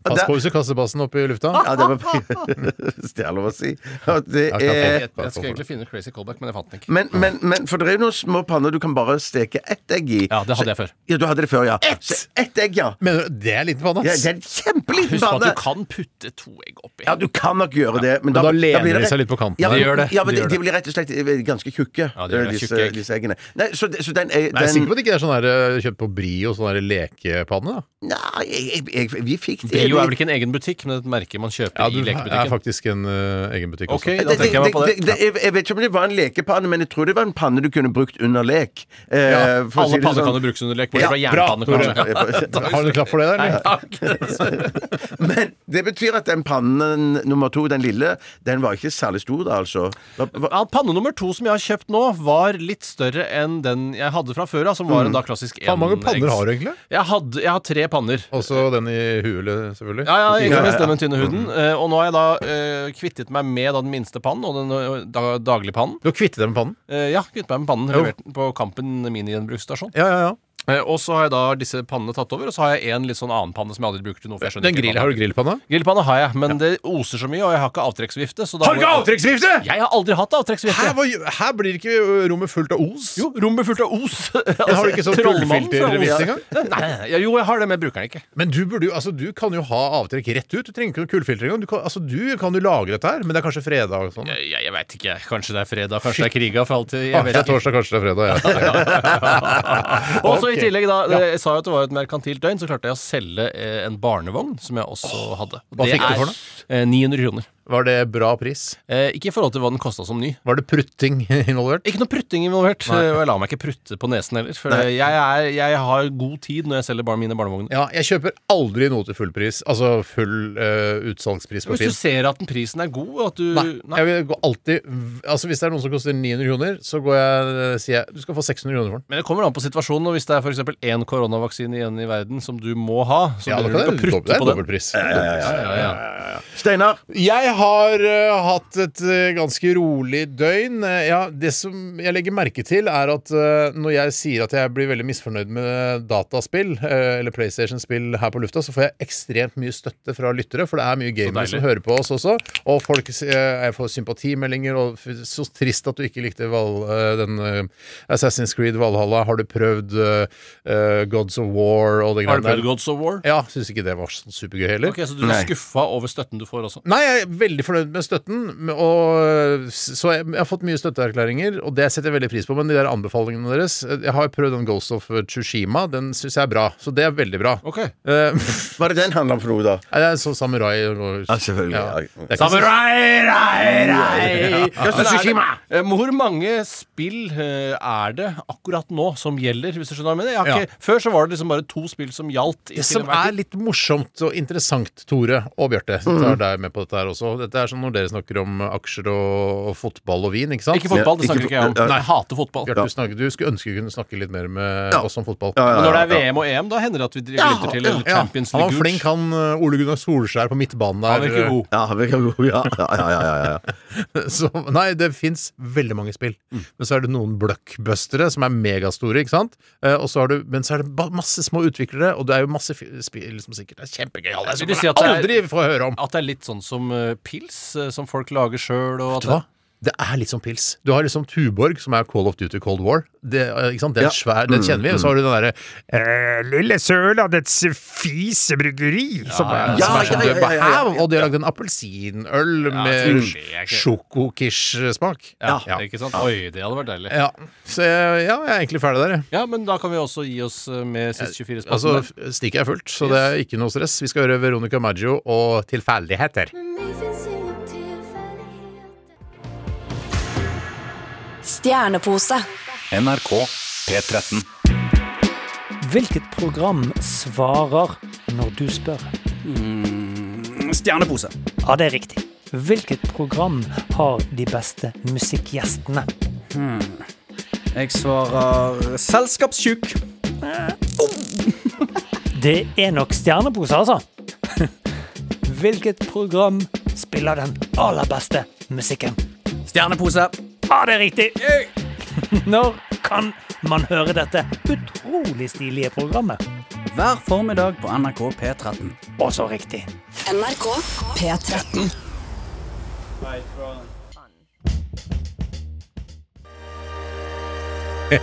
Pass
Der-
på hvis du kaster bassen opp i lufta.
ja, det var (laughs) Hvis det er lov å si. Og det
Ja,
er
klart.
Jeg, jeg skulle egentlig finne crazy callback, men jeg fant den ikke.
men, men, men for det er jo noen små panner du kan bare steke ett egg i.
Ja, det hadde jeg før.
Ja, du hadde det før, ja. Så Ett egg, ja.
Mener du, Det er en liten panne,
ja
ass!
det er en kjempeliten
Husk på at
panne.
du kan putte to egg oppi.
Ja, du kan nok gjøre det, men,
da lener
blir det
de
rett-
seg litt på kanten
Ja,
her.
men,
De gjør det.
Ja,
De
men det,
gjør
det
det.
blir rett og slett eh, ganske ganske tjukke,
Ja, de er
eh, disse,
tjukke egg.
disse eggene. Nei, så, de- så den er
Nei, jeg er
den,
sikker på at det ikke er sånn der, eh, kjøpt på Brio, sånn der lekepanne. da.
Nei, jeg, jeg, jeg, vi fikk det.
Brio er vel ikke en egen butikk, men et merke man kjøper
Ja, du
i
er
lekebutikken.
faktisk en eh, egen butikk
Ok,
også.
da
det, det,
tenker jeg meg på
det,
det.
det, jeg, jeg vet ikke om det var en lekepanne, men jeg tror det var en panne du kunne brukt under lek. Eh,
Ja,
for å si
alle
det
panner
sånn.
kan jo brukes under lek, bortsett fra
Ja, bra,
jernpanne, kanskje.
(laughs)
Har du en klapp for det, der?
Nei,
eller?
takk.
(laughs) Men det betyr at den pannen nummer to, den lille, den var ikke særlig stor, da, altså. Hva- hva-
Ja, Panne nummer to som jeg har kjøpt nå, var litt større enn den jeg hadde fra før av, som var en da klassisk
Faen, Hvor mange panner har du egentlig?
Jeg, hadde, jeg har tre panner.
Også den i huet, selvfølgelig.
Ja, ja, ikke
Ja, ja,
minst
ja.
den med tynne huden. Eh, og nå har jeg da eh, kvittet meg med da, den minste pannen og den eh, da, dagligpannen.
Du har kvittet deg med pannen?
Eh, ja, kvittet meg med pannen.
Jo.
Levert den på Kampen minigjenbruksstasjon.
Ja, ja, ja.
Eh, og så har jeg da disse pannene tatt over, og så har jeg en litt sånn annen panne som jeg aldri bruker til noe. for jeg skjønner
Den
ikke hva
grill, har du grillpanne?
Grillpanne har jeg, men det oser så mye, og jeg har ikke avtrekksvifte. så da må jeg-
avtrekksvifte?!
Jeg har aldri hatt
Her,
avtrekksvifte.
hva- her blir ikke ø, rommet fullt av os?
Jo, rommet fullt av (laughs) os. Altså,
har du ikke sånn
trollmannen fra
kullfiltervis
Os.
engang?
Nei, ja, jo, jeg har det, men jeg bruker den ikke.
Men du, burde jo, altså, du kan jo ha avtrekk rett ut. Du trenger ikke noe kullfilter engang. Du kan, altså, du kan jo lage dette her, men det er kanskje fredag og sånn.
Jeg, jeg veit ikke. Kanskje det er fredag, kanskje det er kriga for alt jeg
Kanskje det
vet
er
(laughs) ikke.
torsdag, kanskje det er fredag. (laughs) Ja.
Og så i
Ok.
tillegg, da. eh, Jeg sa jo at det var et merkantilt døgn, så klarte jeg å selge eh, en barnevogn som jeg også hadde.
hva fikk du for den?
eh, 900 kroner.
Var det bra pris?
Eh, ikke i forhold til hva den kosta som ny.
Var det prutting (laughs) involvert?
Ikke noe prutting involvert, eh, og jeg lar meg ikke prutte på nesen heller. For jeg, er, jeg har god tid når jeg selger barn mine barnevogner.
Ja, jeg kjøper aldri noe til full pris. Altså full ø, utsalgspris på
Hvis
Finn.
du ser at den prisen er god, og at du
Nei, jeg vil gå alltid Altså Hvis det er noen som koster 900 kroner, så går jeg, eh, sier jeg du skal få 600 kroner for den.
Men det kommer an på situasjonen, og hvis det er for eksempel én koronavaksine igjen i verden som du må ha, så
Ja, da kan jeg,
begynner du ikke å
det er
prutte på den.
dobbeltpris.
Ja, ja.
Steinar,
Jeg har eh, hatt et eh, ganske rolig døgn. Eh, ja, det som jeg legger merke til, er at eh, når jeg sier at jeg blir veldig misfornøyd med dataspill, eh, eller PlayStation-spill her på lufta, så får jeg ekstremt mye støtte fra lyttere, for det er mye gamere
deilig.
som hører på oss også. Og folk s- eh, jeg får sympatimeldinger, og f- så trist at du ikke likte Val, eh, den eh, Assassin's Creed Valhalla. Har du prøvd eh, eh, Gods of War og det
Har du
greiene
prøvd
der?
Gods of War?
Ja, syns ikke det var sånn supergøy heller.
Ok, Så du
Nei.
er skuffa over støtten du får også?
Nei, jeg er veldig fornøyd med støtten. men- Og, så jeg, jeg har fått mye støtteerklæringer, og det setter jeg veldig pris på. Men de der anbefalingene deres eh, Jeg har prøvd den Ghost of eh, Tsushima. Den syns jeg er bra. Så det er veldig bra.
Ok
Eh, (laughs)
hva er det den handler om for noe, da?
det er sånn samurai og
Ja, selvfølgelig, ja.
Det er ikke så-
Samurai, rei, rei
Altså,
Ghost of Tsushima!
Men er det- eh, Hvor mange spill eh, er det akkurat nå som gjelder, hvis du skjønner hva jeg mener? Jeg har
Ja.
ikke, før så var det liksom bare to spill som gjaldt.
Det
i til
som
enhver
er
tid.
litt morsomt og interessant, Tore og Bjarte,
Mm.
så tar deg med på dette her også. Dette er sånn når dere snakker om aksjer og, og fotball og vin, ikke sant?
Ikke fotball, det
Ikke
snakker ikke jeg om.
fot- ja.
Nei, jeg hater fotball.
Bjarte, du, snakker- du skulle ønske du kunne snakke litt mer med
Ja.
oss om fotball.
Ja,
Men når det er
ja.
VM og EM, da hender det at vi driver lytter til eller
Ja,
Champions
han var
League.
flink, han eh, Ole Gunnar Solskjær på midtbanen der. eh,
Han virker god.
Ja, vi kan gå- ja, ja, ja, ja, ja, ja.
Så, nei, det fins veldig mange spill. Men så er det noen blockbustere som er megastore, ikke sant? Eh, og så har du, men så er det ba- masse små utviklere, og det er jo masse fi- spill som sikkert er kjempegøy. Alle
Vil
som
du si at
jeg
det
aldri får høre om.
At det er litt sånn som eh, pils, eh, som folk lager sjøl.
Vet du hva? Det er litt som pils. Du har liksom Tuborg, som er Call of Duty Cold War. Det, eh, ikke sant? Den,
Ja.
er svær, den kjenner vi. Og så har du den derre eh, Lille Sørlandets fisebryggeri, som er,
ja,
som er
ja,
sånn
ja,
død.
ja, ja, ja.
Og de har lagd en appelsinøl med
det er ikke-
sjokokish-smak.
Ja, Ikke sant? Oi, det hadde vært deilig.
Ja, så jeg, ja, jeg er egentlig ferdig der. jeg.
Ja, men da kan vi også gi oss eh, med sist 24
Altså,
spørsmål.
f- stikket er fullt, så det er ikke noe stress. Vi skal høre Veronica Maggio og 'Tilfeldigheter'. (laughs)
Stjernepose.
NRK P13.
Hvilket program svarer når du spør?
Mm, Stjernepose.
Ja, det er riktig. Hvilket program har de beste musikkgjestene?
Hmm. Jeg svarer selskapssjuk.
(laughs) Det er nok Stjernepose, altså.
(laughs)
Hvilket program spiller den aller beste musikken?
Stjernepose.
Ja, det er riktig. Når kan man høre dette utrolig stilige programmet?
Hver formiddag på NRK P13.
Også riktig.
NRK P13.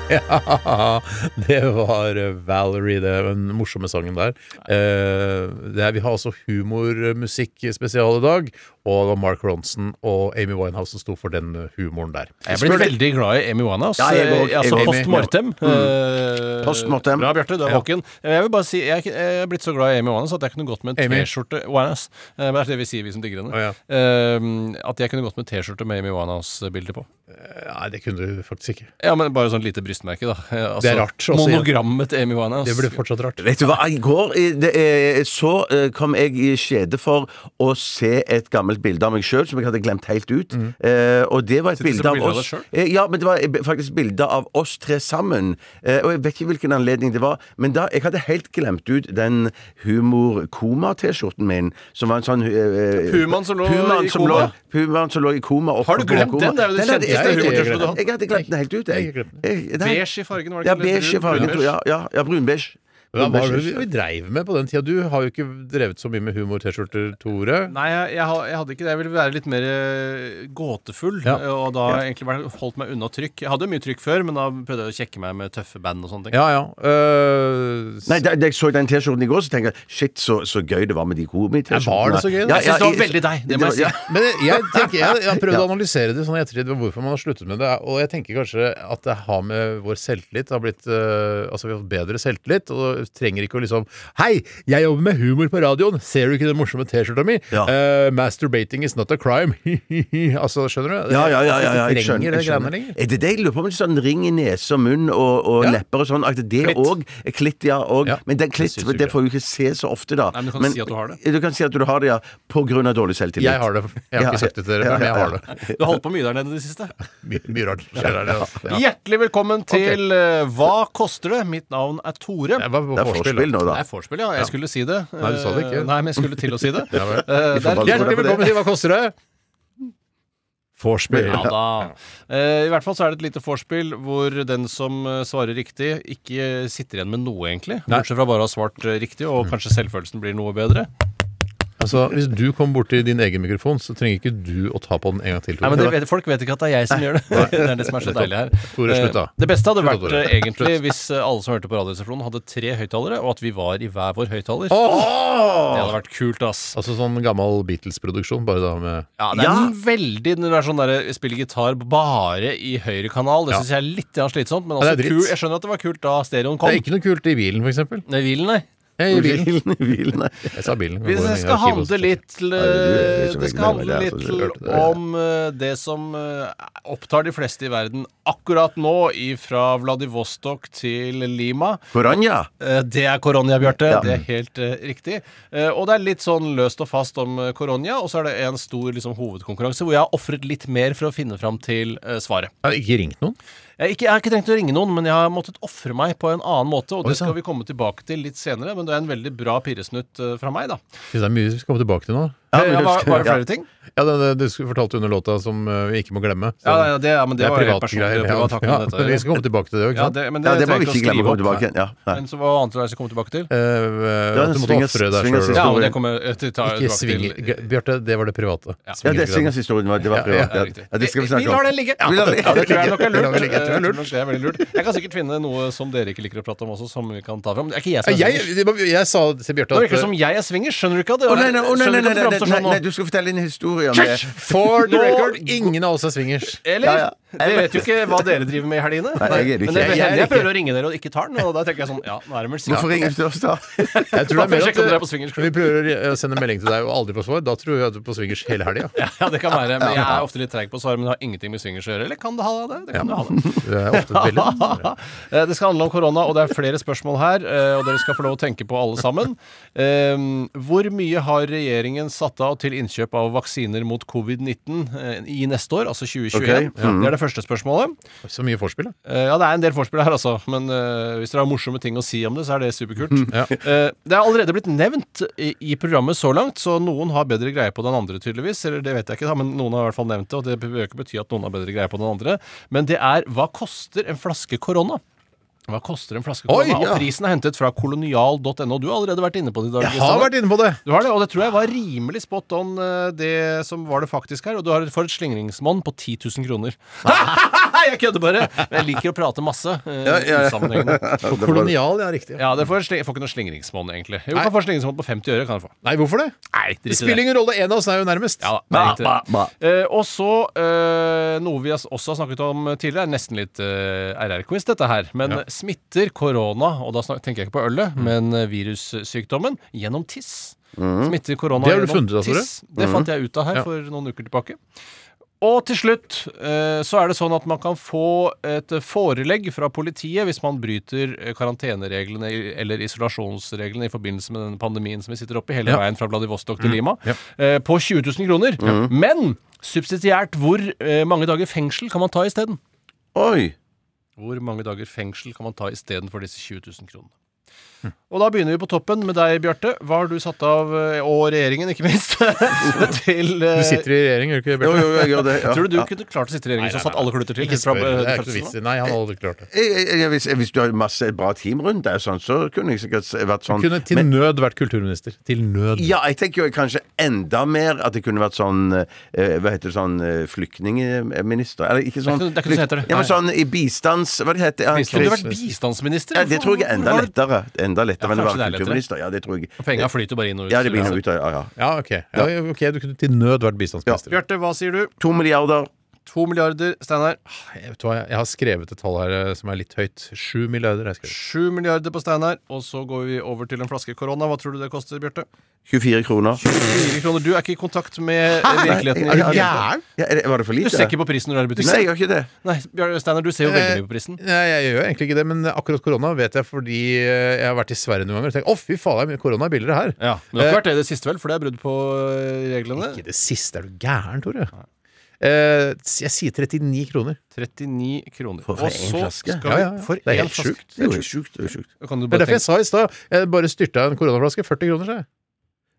Ja, det var Valerie, det er den morsomme sangen der. Eh, det er, vi har altså humormusikk spesial i dag, og det var Mark Ronson og Amy Winehouse som sto for den humoren der.
Jeg ble veldig glad i Amy Winehouse.
Ja, jeg går-
Eh, altså
jeg går-
post mortem. Eh,
Post mortem.
Bra, Bjarte. Du er
Ja.
våken. Eh, Jeg vil bare si, jeg er ikke- jeg er blitt så glad i Amy Winehouse at jeg kunne gått med en
Amy.
T-skjorte Winehouse. Eh, Det er det vi sier, vi som digger henne.
Å, ja.
Eh, At jeg kunne gått med en T-skjorte med Amy Winehouse-bilde på.
Nei, det kunne du faktisk ikke.
Ja, men Bare sånn lite brystmerke, da. Eh, Altså,
Det er rart, altså, ja.
monogrammet til Amy Winehouse.
Det ble fortsatt rart.
Vet du hva, i går eh, det, eh, så eh, kom jeg i skjede for å se et gammelt bilde av meg sjøl som jeg hadde glemt helt ut. Eh, og det var et
Mhm.
bilde
Sitter du på
av
bildet av
oss
deg
Eh, Ja, men det var eh, b- faktisk bilde av oss tre sammen. Eh, og jeg vet ikke hvilken anledning det var, men da jeg hadde helt glemt ut den humor-koma-T-skjorten min, som var en sånn eh, eh,
Pumaen som lå
Pumaen
i
som
koma?
lå- Pumaen som lå i koma. oppe
Har du
på
glemt
koma.
den? Det er jo den
hadde-
kjenteste
jeg- jeg-
humortørskjordet du har.
Jeg hadde glemt den helt ut, jeg.
Jeg har glemt
Jeg- nei.
Beige i fargen, var det
Ja,
ikke? Eller
beige i
brun-
fargen,
brunbeige?
tror jeg. Ja, ja, ja brunbeige.
Hva var det
Brunbeige.
vi dreiv med på den tida? Du har jo ikke drevet så mye med humor-T-skjorter, Tore.
Nei, jeg, jeg, ha- jeg hadde ikke det. Jeg ville være litt mer eh, gåtefull.
Ja.
eh, Og da har jeg egentlig bare holdt meg unna trykk. Jeg hadde jo mye trykk før, men da prøvde jeg å kjekke meg med tøffe band og sånne ting.
Ja, ja. øh, s-
Nei, da, da jeg så den T-skjorten i går, så tenkte jeg shit, så, så gøy det var med de komi-T-skjortene.
Ja, var det så gøy, da?
Ja,
Jeg synes det var
ja,
veldig deg, det må jeg
var-
si.
Men jeg, jeg tenker, jeg, jeg har prøvd å
(laughs) Ja.
analysere det sånn i ettertid med hvorfor man har sluttet med det. Og jeg tenker kanskje at det har med vår selvtillit det har blitt, eh, Altså vi har fått bedre selvtillit og trenger ikke å liksom Hei, jeg jobber med humor på radioen! Ser du ikke den morsomme T-skjorta mi?
Ja.
Eh, masturbating is not a crime. (laughs) altså, skjønner du?
Ja, ja, ja, ja, ja,
Vi
jeg skjønner.
trenger det
Jeg
greiene
skjønner.
lenger.
Er det det jeg lurer på? Med sånn ring i nese og munn og, og
Ja.
lepper og sånn. At det
Klitt.
òg Klitt, ja. Og,
Ja,
Men den klitt,
det synes jeg
det
ikke.
får du ikke se så ofte, da.
Nei, men du kan si at du har det.
Du kan si at du har det, ja. På grunn av dårlig selvtillit.
Jeg har det. Jeg har
Ja,
ikke sagt det til dere,
ja,
men jeg
ja,
har
(laughs) ja.
det.
Du har holdt på mye der nede i det siste.
Mye, mye rart skjer her. altså. (laughs) Ja.
Hjertelig velkommen til eh, Hva koster det? Mitt navn er Tore.
Jeg var på
Det er
vorspiel,
forspill
da.
nå,
Det
da.
er vorspiel, ja. Jeg skulle si det.
Nei, du sa det ikke.
Eh, Nei, men jeg skulle til å si det.
(laughs) Ja, vel.
Eh, det er
får
Hjertelig velkommen til Hva koster det? Vorspiel.
Ja da. Eh, I hvert fall så er det et lite vorspiel hvor den som eh, svarer riktig, ikke eh, sitter igjen med noe, egentlig. Bortsett fra bare å ha svart eh, riktig, og kanskje selvfølelsen blir noe bedre.
Altså, Hvis du kommer borti din egen mikrofon, så trenger ikke du å ta på den en gang til. Tore.
Nei, men det vet, Folk vet ikke at det er jeg som gjør det. (laughs) Det er det som er så deilig her.
Tore, slutt, da.
Eh, Det beste hadde
Slutt,
vært
da,
eh,
Tore.
egentlig hvis eh, alle som hørte på Radioresepsjonen, hadde tre høyttalere, og at vi var i hver vår høyttaler. Det hadde vært kult, ass.
Altså sånn gammel Beatles-produksjon, bare da med
Ja, det er
Ja.
en veldig Når det er sånn der, spiller gitar bare i høyre kanal. Det
Ja.
synes jeg er litt grann slitsomt, men
Ja,
også
det er dritt.
kul, jeg skjønner at det var kult da stereoen
Det
kom.
er ikke noe kult i bilen, for eksempel.
Nei, bilen, nei.
Jeg, i bilen.
Hvilen, hvilen.
jeg sa bilen.
Hvis jeg skal handle litt eh,
det er så
Det
veldig
skal handle
veldig, altså,
litt
det er-
om eh, det som eh, opptar de fleste i verden akkurat nå, fra Vladivostok til Lima.
Koranja.
Eh, Det er koronia, Bjarte.
Ja.
Det er helt eh, riktig. Eh, og det er litt sånn løst og fast om eh, koronia, og så er det en stor liksom, hovedkonkurranse hvor jeg har ofret litt mer for å finne fram til eh, svaret.
Jeg har ikke ringt noen.
Jeg, har ikke, jeg har ikke trengt å ringe noen, men jeg har måttet ofre meg på en annen måte, og
Oi,
det
sann.
skal vi komme tilbake til litt senere, men det er en veldig bra pirresnutt eh, fra meg, da.
Hvis det er mye vi skal komme tilbake til nå.
Ja,
men
var,
husker-
var det
ja.
flere ting?
Ja, det, det, Du skulle fortalt under låta som eh, vi ikke må glemme. Så-
Ja, ja, det, ja men det, var helt personlig.
privatgreier,
privat takk om dette.
Ja, vi skal komme tilbake til det òg, ikke
Ja,
sant?
det, men det,
Ja, det må
trenger
vi ikke glemme å komme
skrive opp.
tilbake igjen. Ja, nei.
Men så hva annet var det jeg skulle komme tilbake til?
Eh, eh,
var
At du
en
måtte
swingers-
ofre deg
swingers
sjøl.
Ja,
historie.
og det kommer jeg til å ta
Ikke
tilbake
sving...
til.
Bjarte, det var det private.
Ja, det er Singers-historien. Det var privat.
Ja,
Ja,
riktig.
ja, det skal vi snakke om.
lar den ligge. Ja,
Vi lar den
det, det tror jeg nok er
Vi lar
lurt.
den ligge. Jeg tror det er
Jeg tror nok det er veldig lurt. Jeg kan sikkert finne noe som dere ikke liker å prate om også, som vi kan ta fram. Det er ikke jeg som er
Jeg,
swingers.
jeg, jeg sa til Bjarte
Nå
at
virker det som jeg er swingers. Skjønner du ikke at det
Å, nei, nei, å, nei,
skjønner
nei,
du
nei,
ikke at
nei,
det framstår
nei,
sånn
nei,
nå?
du skal fortelle en historie om det.
For the
Nå-
record, ingen av oss er swingers.
Eller?
Ja,
Dere vet jo ikke hva dere driver med i helgene.
Nei, jeg er ikke-
Men det,
jeg er
jeg,
ikke.
prøver å ringe dere og ikke tar den, og da tenker jeg sånn Ja, nå er det vel
Hvorfor
sikkert
ringer du til oss, da?
(laughs)
Jeg tror det
Bare
er
for å
mer
sjekke om dere er på
at eh,
swingers
vi prøver å sende melding til deg og aldri får svar. Da tror jeg at du er på swingers hele helga.
Ja, det kan være. Men jeg er ofte litt treig på å svare, men det har ingenting med swingers å gjøre. Eller kan det ha det? Det kan det ha
(laughs)
det.
Det er ofte et bilde.
(laughs) Eh, Det skal handle om korona, og det er flere spørsmål her. eh, Og dere skal få lov å tenke på alle sammen. Eh, Hvor mye har regjeringen satt av til innkjøp av vaksiner mot covid-19 eh, i neste år, altså 2021?
Ok,
Ja, Det er det første spørsmålet.
Så mye vorspiel, da.
Eh, Ja, det er en del forspill her, altså. Men eh, hvis dere har morsomme ting å si om det, så er det superkult.
(laughs) Ja.
Eh, Det er allerede blitt nevnt i, i programmet så langt, så noen har bedre greie på den andre, tydeligvis. Eller det vet jeg ikke, da, men noen har i hvert fall nevnt det, og det behøver ikke bety at noen har bedre greie på den andre. Men det er hva koster en flaske korona? Hva koster en flaske
Oi,
korona?
ja.
Og prisen er hentet fra kolonial.no. Du har allerede vært inne på det i dag.
Jeg har vært inne på det!
Du har det, og det tror jeg var rimelig spot on eh, det som var det faktisk her. Og du har for et slingringsmonn på 10 000 kroner. (laughs) jeg kødder bare! Men jeg liker å prate masse. eh, usammenhengende.
På kolonial, ja, riktig.
Ja, det får jeg, sli- jeg får ikke noe slingringsmonn, egentlig. Jo, jeg kan få slingringsmonn på 50 øre. kan jeg få.
Nei, hvorfor det?
Nei,
Det spiller ingen rolle, en av oss er jo nærmest.
Ja, det er
Ba,
riktig.
ba, ba.
Eh, og så eh, noe vi has- også har snakket om tidligere, er nesten litt eh, RR-quiz, dette her. Men smitter korona, og da snak- tenker jeg ikke på ølet,
Mm.
men eh, virussykdommen, gjennom tiss. Smitter korona
Mm. Det har du
gjennom
funnet ut av, Tore.
tiss. Det fant jeg ut av her
Ja.
for noen uker tilbake. Og til slutt eh, så er det sånn at man kan få et forelegg fra politiet hvis man bryter eh, karantenereglene i- eller isolasjonsreglene i forbindelse med den pandemien som vi sitter oppe i hele
Ja. Mm.
veien fra Vladivostok til Lima, eh, på 20 000 kroner. Men subsidiært hvor eh, mange dager fengsel kan man ta isteden?
Oi!
Hvor mange dager fengsel kan man ta istedenfor disse 20 000 kronene? Og da begynner vi på toppen med deg, Bjarte. Hva har du satt av, eh, og regjeringen ikke minst, (laughs) til eh,
Du sitter i regjering, gjør du ikke det?
Jo,
Bjarte?
jo, jeg gjør det. Ja.
Tror du du kunne klart å sitte i regjering som satt alle kluter til?
Ikke spør,
Fra,
det er
eh,
ikke noe
fødselen
vits
av?
i. Nei, han hadde aldri klart det.
Jeg, jeg, jeg, hvis, hvis du har masse bra team rundt deg, og sånn, så kunne jeg sikkert s- vært sånn
Kunne til
Men-
nød vært kulturminister. Til nød.
ja, jeg tenker jo kanskje enda mer at det kunne vært sånn eh, Hva heter det sånn eh, flyktningminister? Eller ikke sånn
Det er ikke- det er ikke noe som heter det.
Ja, men sånn i bistands... Hva det heter det?
Kunne du vært bistandsminister?
Ja, det tror jeg er enda lettere. Enda lettere
Ja,
enn å
kanskje
være
det er lettere.
kulturminister. Ja, det tror jeg.
Penga flyter bare inn og ut.
Ja, det blir noe ut av ja, ja.
Ja, ok. Ja, ok, Du kunne til nød vært bistandsminister.
Bjarte, hva sier du?
To milliarder.
To milliarder, Steinar.
Jeg, vet hva, jeg har skrevet et tall her eh, som er litt høyt. Sju milliarder. har Jeg skrevet.
Sju milliarder på Steinar. Og så går vi over til en flaske korona. Hva tror du det koster, Bjarte?
24 kroner.
Fire kroner. Du er ikke i kontakt med virkeligheten.
Er du
i-
gæren? Ja, er det, var det for
Du
lite?
ser ikke på prisen når du er i butikken.
Nei, jeg gjør ikke det.
Nei, Bjørn Steinar, du ser jo veldig mye på prisen.
Nei, jeg gjør egentlig ikke det, men akkurat korona vet jeg fordi eh, jeg har vært i Sverige noen ganger og tenkt å, fy faen, korona er billigere her.
Ja, Men det har ikke vært det i det siste, vel? For det er brudd på eh, reglene.
Eh, Ikke det siste. Er du gæren, Tore? Eh, jeg sier 39 kroner.
39 kroner.
for
og
en
så
flaske?
skal
Ja,
vi
ja, ja.
for
Det er
én
helt
flaske.
sjukt.
Det er jo sjukt. Det er jo sjukt.
Kan du
Det er
bare
derfor jeg
tenke
sa i stad jeg bare styrta en koronaflaske. 40 kroner, sa jeg.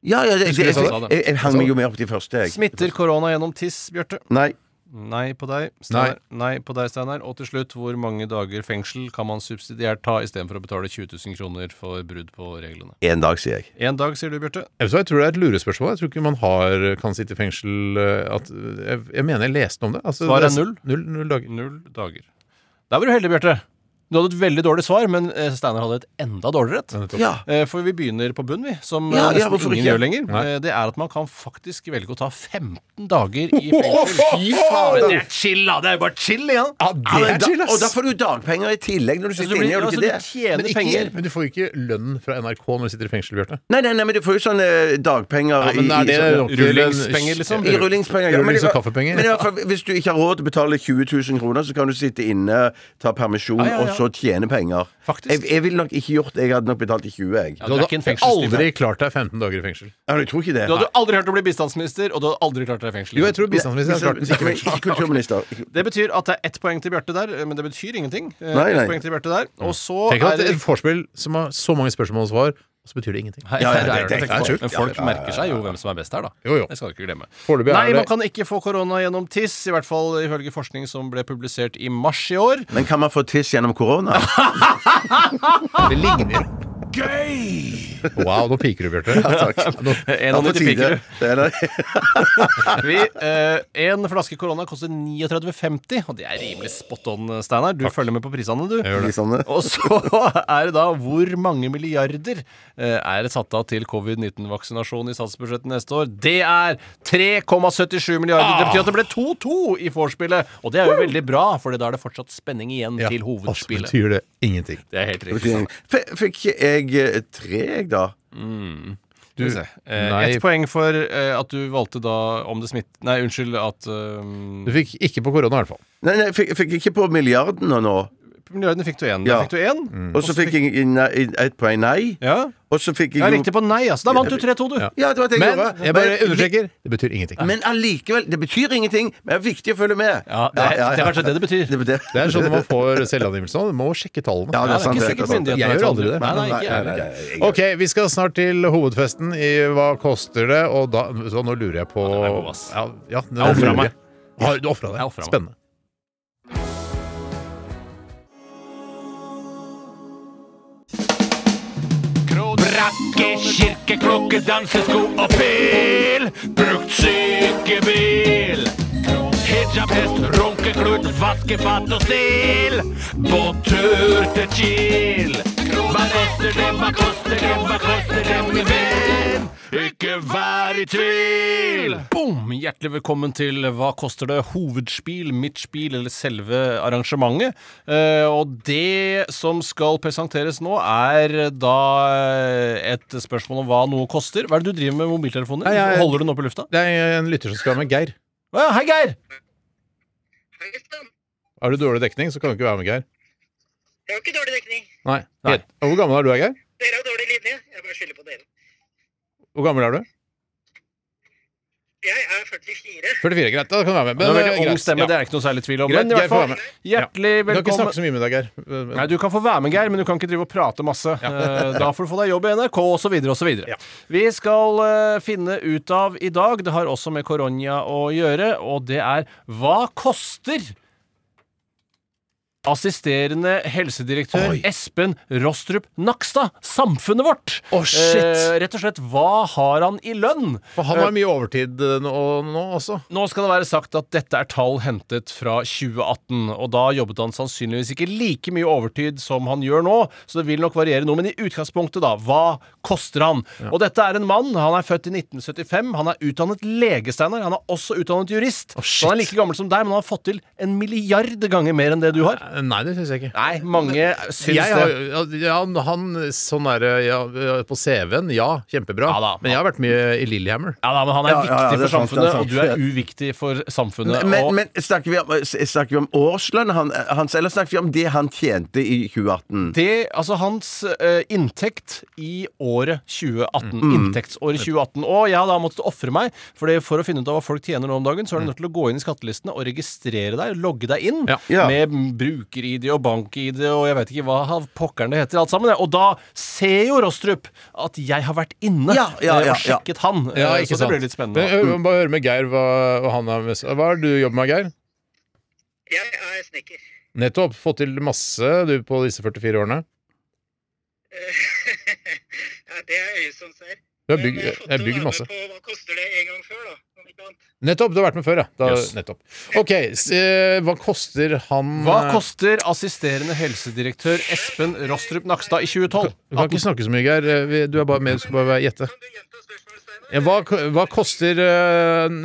Ja, ja, det,
Husker
jeg,
du
jeg,
sa det?
jeg, jeg hang meg jo mer opp til første, jeg.
Smitter korona gjennom tiss, Bjarte?
Nei.
Nei på deg, Steinar. Nei. på deg, Steinar. Og til slutt, hvor mange dager fengsel kan man subsidiært ta istedenfor å betale 20 000 kroner for brudd på reglene?
Én dag, sier jeg.
Én dag, sier du, Bjarte.
Jeg, vet hva, jeg tror det er et lurespørsmål. Jeg tror ikke man har, kan sitte i fengsel eh, at, jeg, jeg mener jeg leste om det. Altså,
Svaret er
det
null?
Null, null dager.
Null dager. Der var du heldig, Bjarte. Du hadde et veldig dårlig svar, men eh, Steinar hadde et enda dårligere et.
Ja.
Eh, For vi begynner på bunn, vi. Som
Ja,
eh,
ja,
nesten
hvorfor
ingen
ikke?
gjør lenger. Eh, Det er at man kan faktisk velge å ta 15 dager
(laughs)
i fengsel.
Fy faen!
Men det er chill, da! Det er jo bare chill igjen.
Ja, men da, og da får du dagpenger i tillegg når du
Så du
sitter
blir-
inne, gjør du
altså,
ikke
du
det?
tjener
Men ikke-
penger.
Men du får jo ikke lønn fra NRK når du sitter i fengsel, Bjarte.
Nei, nei, nei, men du får jo sånne eh, dagpenger i- i sånne-
rullingspenger, liksom?
i rullingspenger. ja, men
Rullings-
det-
og kaffepenger.
Men i hvert fall, hvis du ikke har råd til å betale 20 000 kroner, så kan du sitte inne, ta permisjon
Ja, ja, ja.
og så tjene penger.
Faktisk.
Jeg, jeg ville nok ikke gjort det. Jeg hadde nok betalt i 20, jeg.
Ja,
Du
det er ikke en
hadde
fengselsliv,
aldri klart deg 15 dager i fengsel.
Ja, jeg tror ikke det.
Du hadde aldri hørt å bli bistandsminister, og du hadde aldri klart deg i fengsel.
Jo, jeg tror
Nei.
bistandsministeren har klart den.
Men Ikke kulturminister.
Det betyr at det er ett poeng til Bjarte der, men det betyr ingenting. Eh,
Nei,
ett
nei. Mm.
poeng til Bjarte der, og så
Tenk
er
at
det
et vorspiel som har så mange spørsmål og svar, og så betyr det ingenting.
Nei,
Ja, ja,
det er
det- det- det
det.
er sjukt.
Men
Ja,
folk
ja, ja, ja.
merker seg jo hvem som er best her, da.
Jo, jo.
Det skal du ikke glemme.
Foreløpig
Nei,
er
man
det
kan ikke få korona gjennom tiss, i hvert fall ifølge forskning som ble publisert i mars i år.
Men kan man få tiss gjennom korona?
Det ligner. Gøy! Wow, nå piker du, Bjarte. (laughs) Nå-
En
Ja,
av
på
de
tide.
(laughs) piker.
Det er det. (laughs)
Vi, eh, en flaske korona koster 39,50, og det er rimelig spot on, Steinar. Du følger med på prisene, du.
Litt sånn det.
Og så er det da hvor mange milliarder eh, er det satt av til covid-19-vaksinasjon i statsbudsjettet neste år? Det er 3,77 milliarder. Det betyr at det ble 2-2 i vorspielet. Og det er jo veldig bra, for da er det fortsatt spenning igjen
Ja,
til
og så
hovedspillet.
betyr det ingenting.
Det er helt riktig.
Betyr- F- Fikk jeg eh, tre, jeg, da?
Du,
Eh,
nei,
Ett poeng for eh, at du valgte da om det smitt... Nei, unnskyld at
du
eh,
fikk ikke på korona, i hvert fall.
Nei, nei, fikk, fikk jeg ikke på milliarden nå. nå.
Milliardene fikk du én.
Ja.
Da fikk du én.
Og så fikk jeg i nei- i- ett poeng nei.
Ja.
Og så fikk jeg
ja,
jo-
riktig på nei, altså. Da vant du 3-2, du.
Ja, det var det jeg
Men
gjorde.
jeg bare understreker, det betyr ingenting.
Men allikevel, det betyr ingenting, men det er viktig å følge med.
Ja, det, er, det er kanskje det det betyr.
Det, det.
Det er sånn når man får selvangivelse nå, du må sjekke tallene.
Ja, det er
det er
sant.
ikke
det, det
sikkert
er sant.
myndighetene
Jeg gjør
tar
aldri det.
Nei, nei, ikke
Nei,
jeg heller.
nei, nei, jeg-
Ok, vi skal snart til hovedfesten i Hva koster det? Og da, så nå lurer jeg på
den er god, ass.
Ja, ja, den
Jeg offret
lurer
meg.
Har du ofra
Jeg
deg?
offret meg.
Spennende.
Brakke, kirke, klokke, dansesko og pil. Brukt sykebil. Hit hijabhest, runkeklut, vaskefat og stil. På tur til Kiel. Hva koster det, hva koster det, hva koster det, min venn? Ikke vær i tvil!
Boom! Hjertelig velkommen til Hva koster det? Hovedspil, midtspil eller selve arrangementet. Eh, og det som skal presenteres nå, er da eh, et spørsmål om hva noe koster. Hva er det du driver med mobiltelefoner?
Nei, jeg-
Holder du den oppe i lufta?
Det er en lytter som skal være med. Geir.
Å ja, hei, Geir!
Har du dårlig dekning, så kan du ikke være med, Geir.
Det var ikke dårlig dekning.
Nei. Helt- Hvor gammel er du, Geir?
Dere har dårlig linje. Jeg bare skylder på dere.
Hvor gammel er du?
Jeg er 44.
44, greit. Da kan du være med.
Du har
Men,
veldig
eh,
ung
greit,
stemme,
ja.
det er ikke noe særlig tvil om.
Greit,
men i
Geir
hvert
får være
fall,
med.
hjertelig
Du kan ikke
velkommen.
snakke så mye med deg, Geir. Eh,
Nei, du kan få være med, Geir, men du kan ikke drive og prate masse. Eh, Da får du få deg jobb i NRK, osv., osv.
Ja.
Vi skal eh, finne ut av i dag, det har også med koronia å gjøre, og det er hva koster assisterende helsedirektør
Oi.
Espen Rostrup Nakstad samfunnet vårt?
Å, shit.
Eh, rett og slett, hva har han i lønn?
For han har mye overtid eh, nå, nå også.
Nå skal det være sagt at dette er tall hentet fra 2018, og da jobbet han sannsynligvis ikke like mye overtid som han gjør nå, så det vil nok variere noe. Men i utgangspunktet, da, hva koster han? Og dette er en mann, han er født i 1975, han er utdannet lege, Steinar, han er også utdannet jurist. så han er like gammel som deg, men han har fått til en milliard ganger mer enn det du har.
Eh, Nei, det syns jeg ikke.
Nei, mange syns
Jeg har,
det.
ja, han sånn er det ja, På CV-en, ja, kjempebra.
Ja da.
men jeg har vært mye i Lillehammer.
Ja da, men han er
Ja, ja,
viktig
ja, det er
for
sant, det er
samfunnet,
sant.
og du er uviktig for samfunnet. og...
Men, men snakker, vi om, snakker vi om årslønn han- hans, eller snakker vi om det han tjente i 2018?
Det, altså hans eh, inntekt i året 2018.
Mm.
Inntektsåret 2018. Og jeg har da måttet ofre meg, for det- for å finne ut av hva folk tjener nå om dagen, så er du nødt til å gå inn i skattelistene og registrere deg, logge deg inn
Mm. Ja.
Ja.
med bruker-ID og bank-ID og jeg vet ikke hva ha- pokkeren det heter, alt sammen. ja. Og da ser jo Rostrup at jeg har vært inne
Ja, ja,
eh,
ja,
og
ja.
sjekket han. eh,
Ja,
så
ikke
det
sant.
blir litt spennende.
Men, ø, ø, bare høre med Geir hva, hva han har med seg. Hva er det du jobber med, Geir?
Jeg er snekker.
Nettopp. Fått til masse, du, på disse 44 årene.
ja, det er øyet som ser.
Du har
Men
bygd,
jeg har fått til å
jeg har
være
bygd masse.
med På, hva koster det en gang før, da? Om ikke annet.
Nettopp. Du har vært med før, ja. Da,
Yes.
Nettopp. OK, s, ø, hva koster han eh,
Hva
ø,
koster assisterende helsedirektør Espen Rostrup Nakstad i 2012?
Du kan ikke snakke så mye, Geir. Ø, vi- Du er bare med, du skal bare være- gjette.
Kan du gjenta spørsmålet, Steinar?
Ja, Hva, ko- hva koster ø,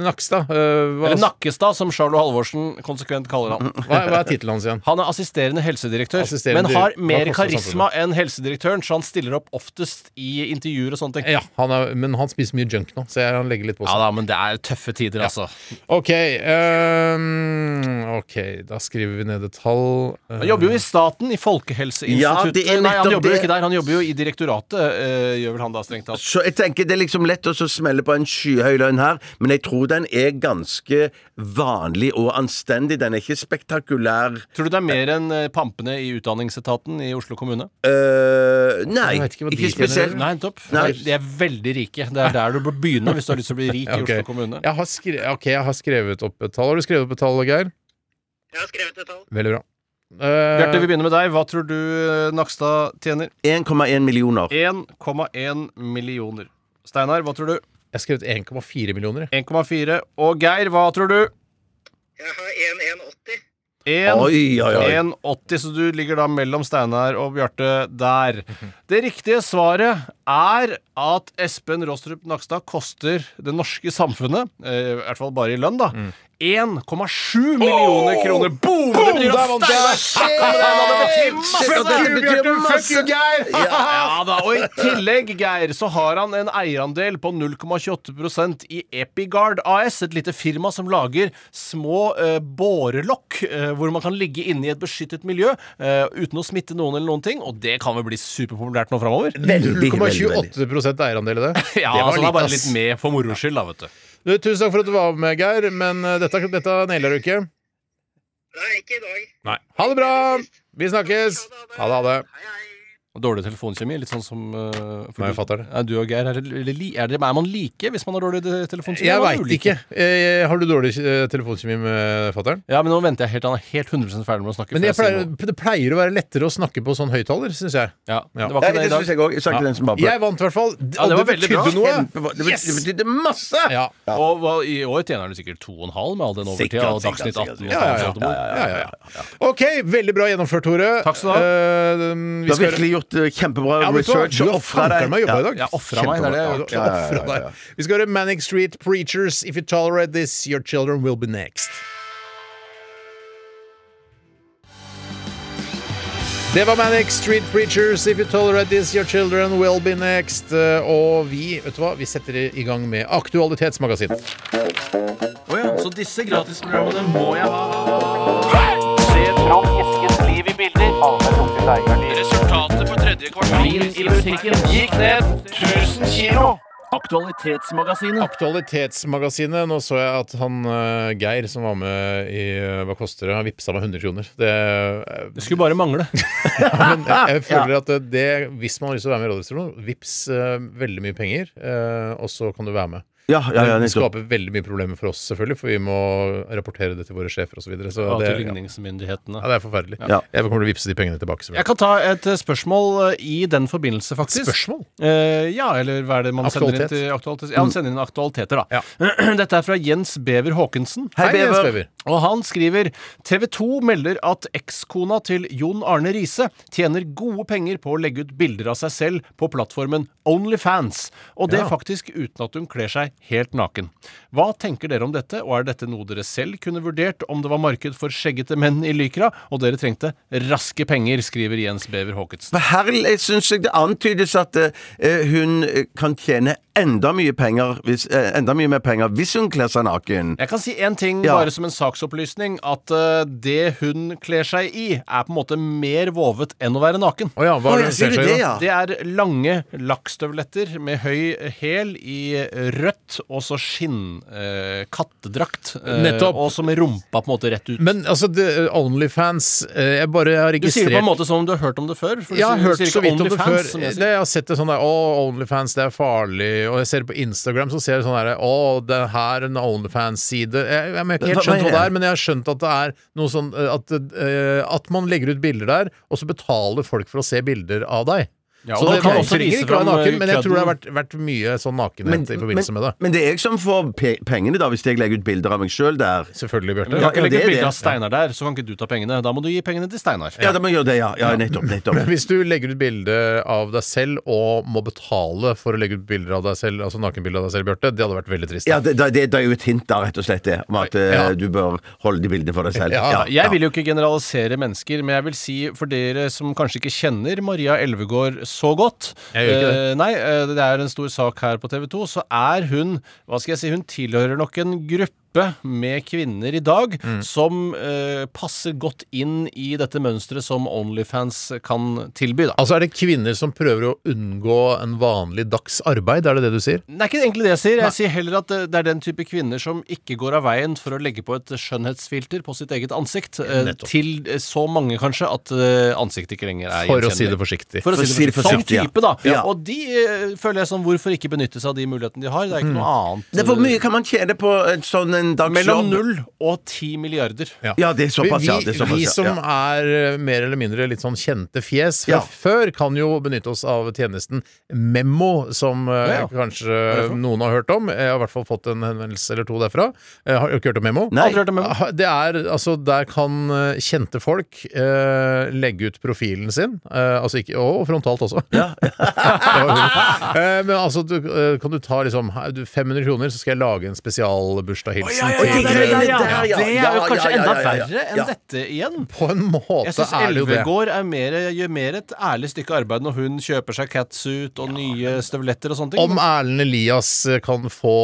Nakstad? Ø, hva, altså-
Eller Nakkestad, som Charlo Halvorsen konsekvent kaller han.
hva, hva er tittelen hans igjen?
Han er assisterende helsedirektør,
Assisterende
men har
dir-
mer
Hva koster
karisma enn helsedirektøren, så han stiller opp oftest i intervjuer og sånne ting.
Ja, han er, men han spiser mye junk nå, så jeg, han legger litt på seg.
Ja da, men det er tøffe tider, altså.
Ok, ehm, ok, da skriver vi ned et tall. Eh,
Han jobber jo i staten, i
Ja,
Folkehelseinstituttet.
det er
Nei, han
nettopp
jobber jo
det.
ikke der, han jobber jo i direktoratet, eh, gjør vel han da, strengt tatt.
Så jeg tenker Det er liksom lett å så smelle på en skyhøy lønn her, men jeg tror den er ganske vanlig og anstendig. Den er ikke spektakulær.
Tror du det er mer enn eh, pampene i utdanningsetaten i Oslo kommune?
Øh, nei,
Jeg vet ikke
ikke,
hva de tjener.
spesielt.
Nei, nettopp.
Nei.
De er veldig rike. Det er der du bør begynne hvis du har lyst til å bli rik i
ok.
Oslo kommune.
Jeg har skre ok, jeg har skrevet opp et tall. Har du skrevet opp et tall, Geir?
Jeg har skrevet et tall.
Veldig bra.
Bjarte,
Eh,
vi begynner med deg. Hva tror du eh, Nakstad tjener?
1,1 millioner.
1,1 millioner. Steinar, hva tror du?
jeg har skrevet 1,4 millioner. jeg.
1,4. Og Geir, hva tror du?
Jeg har 1180.
1,80,
Oi, oi, oi.
så du ligger da mellom Steinar og Bjarte der. Det riktige svaret er at Espen Rostrup Nakstad koster det norske samfunnet, eh, i hvert fall bare i lønn, da, 1,7 millioner kroner. Boom! Det betyr
der
at
vant
Steinar snakker med deg! da. Det betyr
Shit, og dette betyr masse.
Ja da, og i tillegg, Geir, så har han en eierandel på 0,28 i Epigard AS, et lite firma som lager små eh, bårelokk eh, hvor man kan ligge inne i et beskyttet miljø eh, uten å smitte noen eller noen ting, og det kan vel bli superpopulært nå framover?
Veldig, veldig, veldig.
0,28 eierandel i det.
Ja,
det var
så det er bare
ass.
litt med for moro skyld, da, vet du.
Du, tusen takk for at du var med, Geir, men eh, dette, dette nailer du ikke.
Nei, ikke i dag.
Nei. Ha det bra! Vi snakkes! Ha det, ha det.
Hei, hei.
Dårlig telefonkjemi, litt sånn som eh, for
Nei, jeg
du-
fatter det.
Er du og Geir er, det- eller li- er, det- er man like hvis man har dårlig de- telefonkjemi?
Jeg
eller er man
veit
ulike?
ikke. Eh, har du dårlig eh, telefonkjemi med fatter'n?
Ja, men nå venter jeg helt til han er helt 100 ferdig med å snakke.
Men
før
jeg
sier
pleier,
noe.
det pleier å være lettere å snakke på sånn høyttaler, syns jeg.
ja,
Ja.
Ja,
Det var ikke det
det
i dag.
syns jeg òg. Sagt til den som babler.
Jeg vant i hvert fall.
Ja, det var veldig bra.
betydde noe.
Kjempebra. Det bet- det betydde masse!
Ja.
Ja. Og hva- i år tjener han sikkert 2,5 med all den overtida
Sikkert,
og
sikkert,
Dagsnytt 18.
sikkert,
og
Ja, ja,
sånt.
ja, ja, ja, ja. OK, veldig bra gjennomført, Tore.
Takk skal du ha.
Eh, vi
Du har
skal
virkelig gjort eh, kjempebra
Ja, vet du hva?
research
Du
og
har
ofra
fanken
deg.
meg jobba i dag.
Jeg ofra meg. Det er det. jeg
Ja,
har
du
gjort.
ja, ja,
ofrer
ja, ja.
deg. Vi skal høre Manic Street Preachers. If you tolerate this, your children will be next. Det var Manic Street Preachers. If you tolerate this, your children will be next. Eh, Og vi, vet du hva, vi setter i gang med Aktualitetsmagasin.
Resultatet for tredje kvartal i butikken gikk ned 1000 kilo. Aktualitetsmagasinet.
Aktualitetsmagasinet. Nå så jeg at han eh, Geir som var med i eh, Hva koster det? Han vippsa meg 100 kroner. Det, eh,
Det skulle bare mangle.
Men jeg, jeg føler at det, hvis man har lyst til å være med i Radioresepsjonen, vips eh, veldig mye penger, eh, og så kan du være med.
Ja, ja, ja,
det
nettopp.
skaper veldig mye problemer for oss, selvfølgelig, for vi må rapportere det til våre sjefer osv. Så videre, så
Ja,
det,
til
ja.
ligningsmyndighetene.
Ja, det er forferdelig.
Ja.
Jeg kommer til å vippse de pengene tilbake.
Jeg
selvfølgelig.
kan ta et eh, spørsmål eh, i den forbindelse, faktisk.
Spørsmål?
Eh, ja, eller hva er det man sender
Aktualitet.
inn til aktualitet? Ja, man sender inn aktualiteter, da. (clears throat) Dette er fra Jens Bever Haakonsen.
Hei,
Jens
Bever.
Bever.
Og han skriver TV 2 melder at ekskona til Jon Arne Riise tjener gode penger på å legge ut bilder av seg selv på plattformen Onlyfans, og det
Ja.
faktisk uten at hun kler seg helt naken. Hva tenker dere om dette, og er dette noe dere selv kunne vurdert om det var marked for skjeggete menn i Lykra, og dere trengte raske penger, skriver Jens Bever Haakonsen.
For Her syns jeg det antydes at eh, hun eh, kan tjene enda mye penger hvis, eh, enda mye mer penger hvis hun kler seg naken.
Jeg kan si én ting
Ja.
bare som en saksopplysning, at eh, det hun kler seg i, er på en måte mer vovet enn å være naken.
Å ja, hva
Å,
er
ja,
det som
sier du
skjer
det,
da?
ja?
Det er lange lakkstøvletter med høy hæl i rødt og så skinnkattedrakt. Eh, kattedrakt, eh,
Nettopp.
Og så med rumpa på en måte rett ut.
Men altså, det, Onlyfans eh, Jeg bare har
du sier
registrert
det på en måte som om du har hørt om det før. for du
Jeg har
sier- du
hørt
sier
så
ikke
vidt om det
OnlyFans,
før.
som jeg
Det,
sier.
jeg har sett det sånn der Å, Onlyfans, det er farlig. Og jeg ser det på Instagram, så ser jeg sånn der Å, det er her en Onlyfans-side. Jeg, jeg, har ikke
Hva-
helt skjønt hva
hva er
det
det?
er, men jeg har skjønt at det er noe sånn eh, At, eh, at man legger ut bilder der, og så betaler folk for å se bilder av deg.
Ja,
så
og
det
man kan
man
også
trenger
vise
ikke være
fram, eh,
naken, men jeg tror det har
kødden.
vært, vært mye sånn nakenhet i forbindelse med det.
men det er jeg som får pe pengene, da, hvis jeg legger ut bilder av meg sjøl der.
Selvfølgelig,
Du
Bjarte.
Ja,
kan ikke
det
legge
er
ut bilde
det.
av Steinar der, så kan ikke du ta pengene. Da må du gi pengene til Steinar.
Ja, da må jeg gjøre det, ja. ja nettopp. nettopp.
(laughs) (laughs) Hvis du legger ut bilde av deg selv og må betale for å legge ut bilder av deg selv, altså nakenbilde av deg selv, Bjarte, det hadde vært veldig trist.
Ja, det, det, det, det er jo et hint, da, rett og slett, det, om at eh,
Ja.
du bør holde de bildene for deg selv.
Ja,
Jeg vil jo ikke generalisere mennesker, men jeg vil si for dere som kanskje ikke kjenner Maria Elvegård så godt
Jeg gjør ikke det.
eh, Nei, eh, det er en stor sak her på TV 2. Så er hun Hva skal jeg si? Hun tilhører nok en gruppe. Med kvinner i dag
Mm.
som eh, passer godt inn i dette mønsteret som Onlyfans kan tilby. da
Altså Er det kvinner som prøver å unngå en vanlig dags arbeid? Er det det du sier?
Det er ikke egentlig det jeg sier. Jeg sier heller at eh, det det er den type kvinner som ikke går av veien for å legge på et skjønnhetsfilter på sitt eget ansikt. eh,
Nettopp.
Til eh, så mange, kanskje, at eh, ansiktet ikke lenger er
For å si det
gjenkjennelig.
forsiktig.
For å si det forsiktig.
ja.
Sånn type, da.
Ja.
Og de eh, føler jeg sånn Hvorfor ikke benytte seg av de mulighetene de har? Det er ikke noe annet. eh,
Det er Hvor mye kan man tjene på en sånn en dagsjobb?
Mellom null og ti milliarder.
Ja, det er såpass, ja.
vi,
Det er såpass,
vi som
ja.
er eh, mer eller mindre litt sånn kjente fjes fra
Ja.
før, kan jo benytte oss av tjenesten Memmo, som eh,
Ja.
kanskje noen har hørt om. Jeg har i hvert fall fått en henvendelse eller to derfra. Eh, har du ikke hørt om Memmo?
Nei.
Aldri hørt om Memo.
Ha- Det er, altså, der kan eh, kjente folk eh, legge ut profilen sin, eh, altså ikke, og frontalt også. (laughs) Det var humor. Eh, men altså, du, eh, kan du ta liksom her, du, 500 kroner, så skal jeg lage en spesialbursdagshilsen
Oi, de
til
greiene
eh,
der, ja.
Ja, det er jo
Ja, ja,
kanskje
ja,
enda
ja, ja, ja.
verre enn
Ja.
dette igjen.
På en
Jeg
måte
syns
er det jo det.
Elvegård er mer, gjør mer et ærlig stykke arbeid når hun kjøper seg catsuit og nye støvletter og sånne ting.
Om Erlend Elias eh, kan få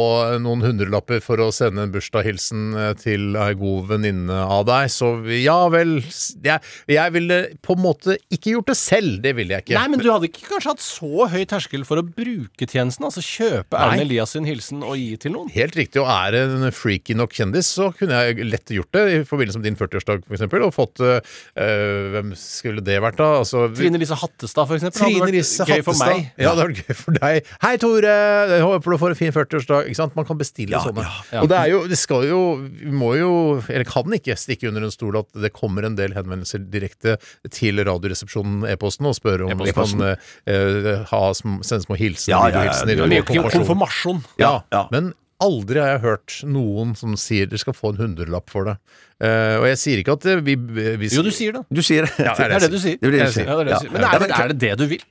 noen hundrelapper for å sende en bursdagshilsen eh, til ei god venninne av deg, så ja vel s- Jeg, jeg ville på en måte ikke gjort det selv, det ville jeg ikke.
Nei, men du hadde ikke kanskje hatt så høy terskel for å bruke tjenesten? Altså kjøpe Erlend
Nei.
Elias sin hilsen og gi til noen?
Helt riktig, og er det en freaky nok kjendis, så kunne jeg lett gjort det i forbindelse med din 40-årsdag, for eksempel, og fått eh, eh, Hvem skulle det vært, da? Altså,
Trine Lise Hattestad, for eksempel. hadde
Trine
vært
Risse
gøy for
Hattestad.
meg.
Ja, det hadde vært gøy for deg. Hei, Tore! Jeg håper du får en fin 40-årsdag. Ikke sant? Man kan bestille sånne.
ja.
Og det er jo Det skal jo Vi må jo Eller kan ikke stikke under en stol at det kommer en del henvendelser direkte til Radioresepsjonen, e-posten, og spørre om vi kan eh, ha sm sende små hilsener,
Ja, ja, ja.
videohilsener
Det er
Mye
og konfirmasjon.
konfirmasjon.
Ja,
ja.
Men aldri har jeg hørt noen som sier dere skal få en hundrelapp for det. Eh, og jeg sier ikke at eh, vi, vi
Jo, du sier det.
Du sier det.
Det er det du sier.
Det er det jeg sier.
Ja, det er det
Ja.
du sier. Men er det, er det det du vil?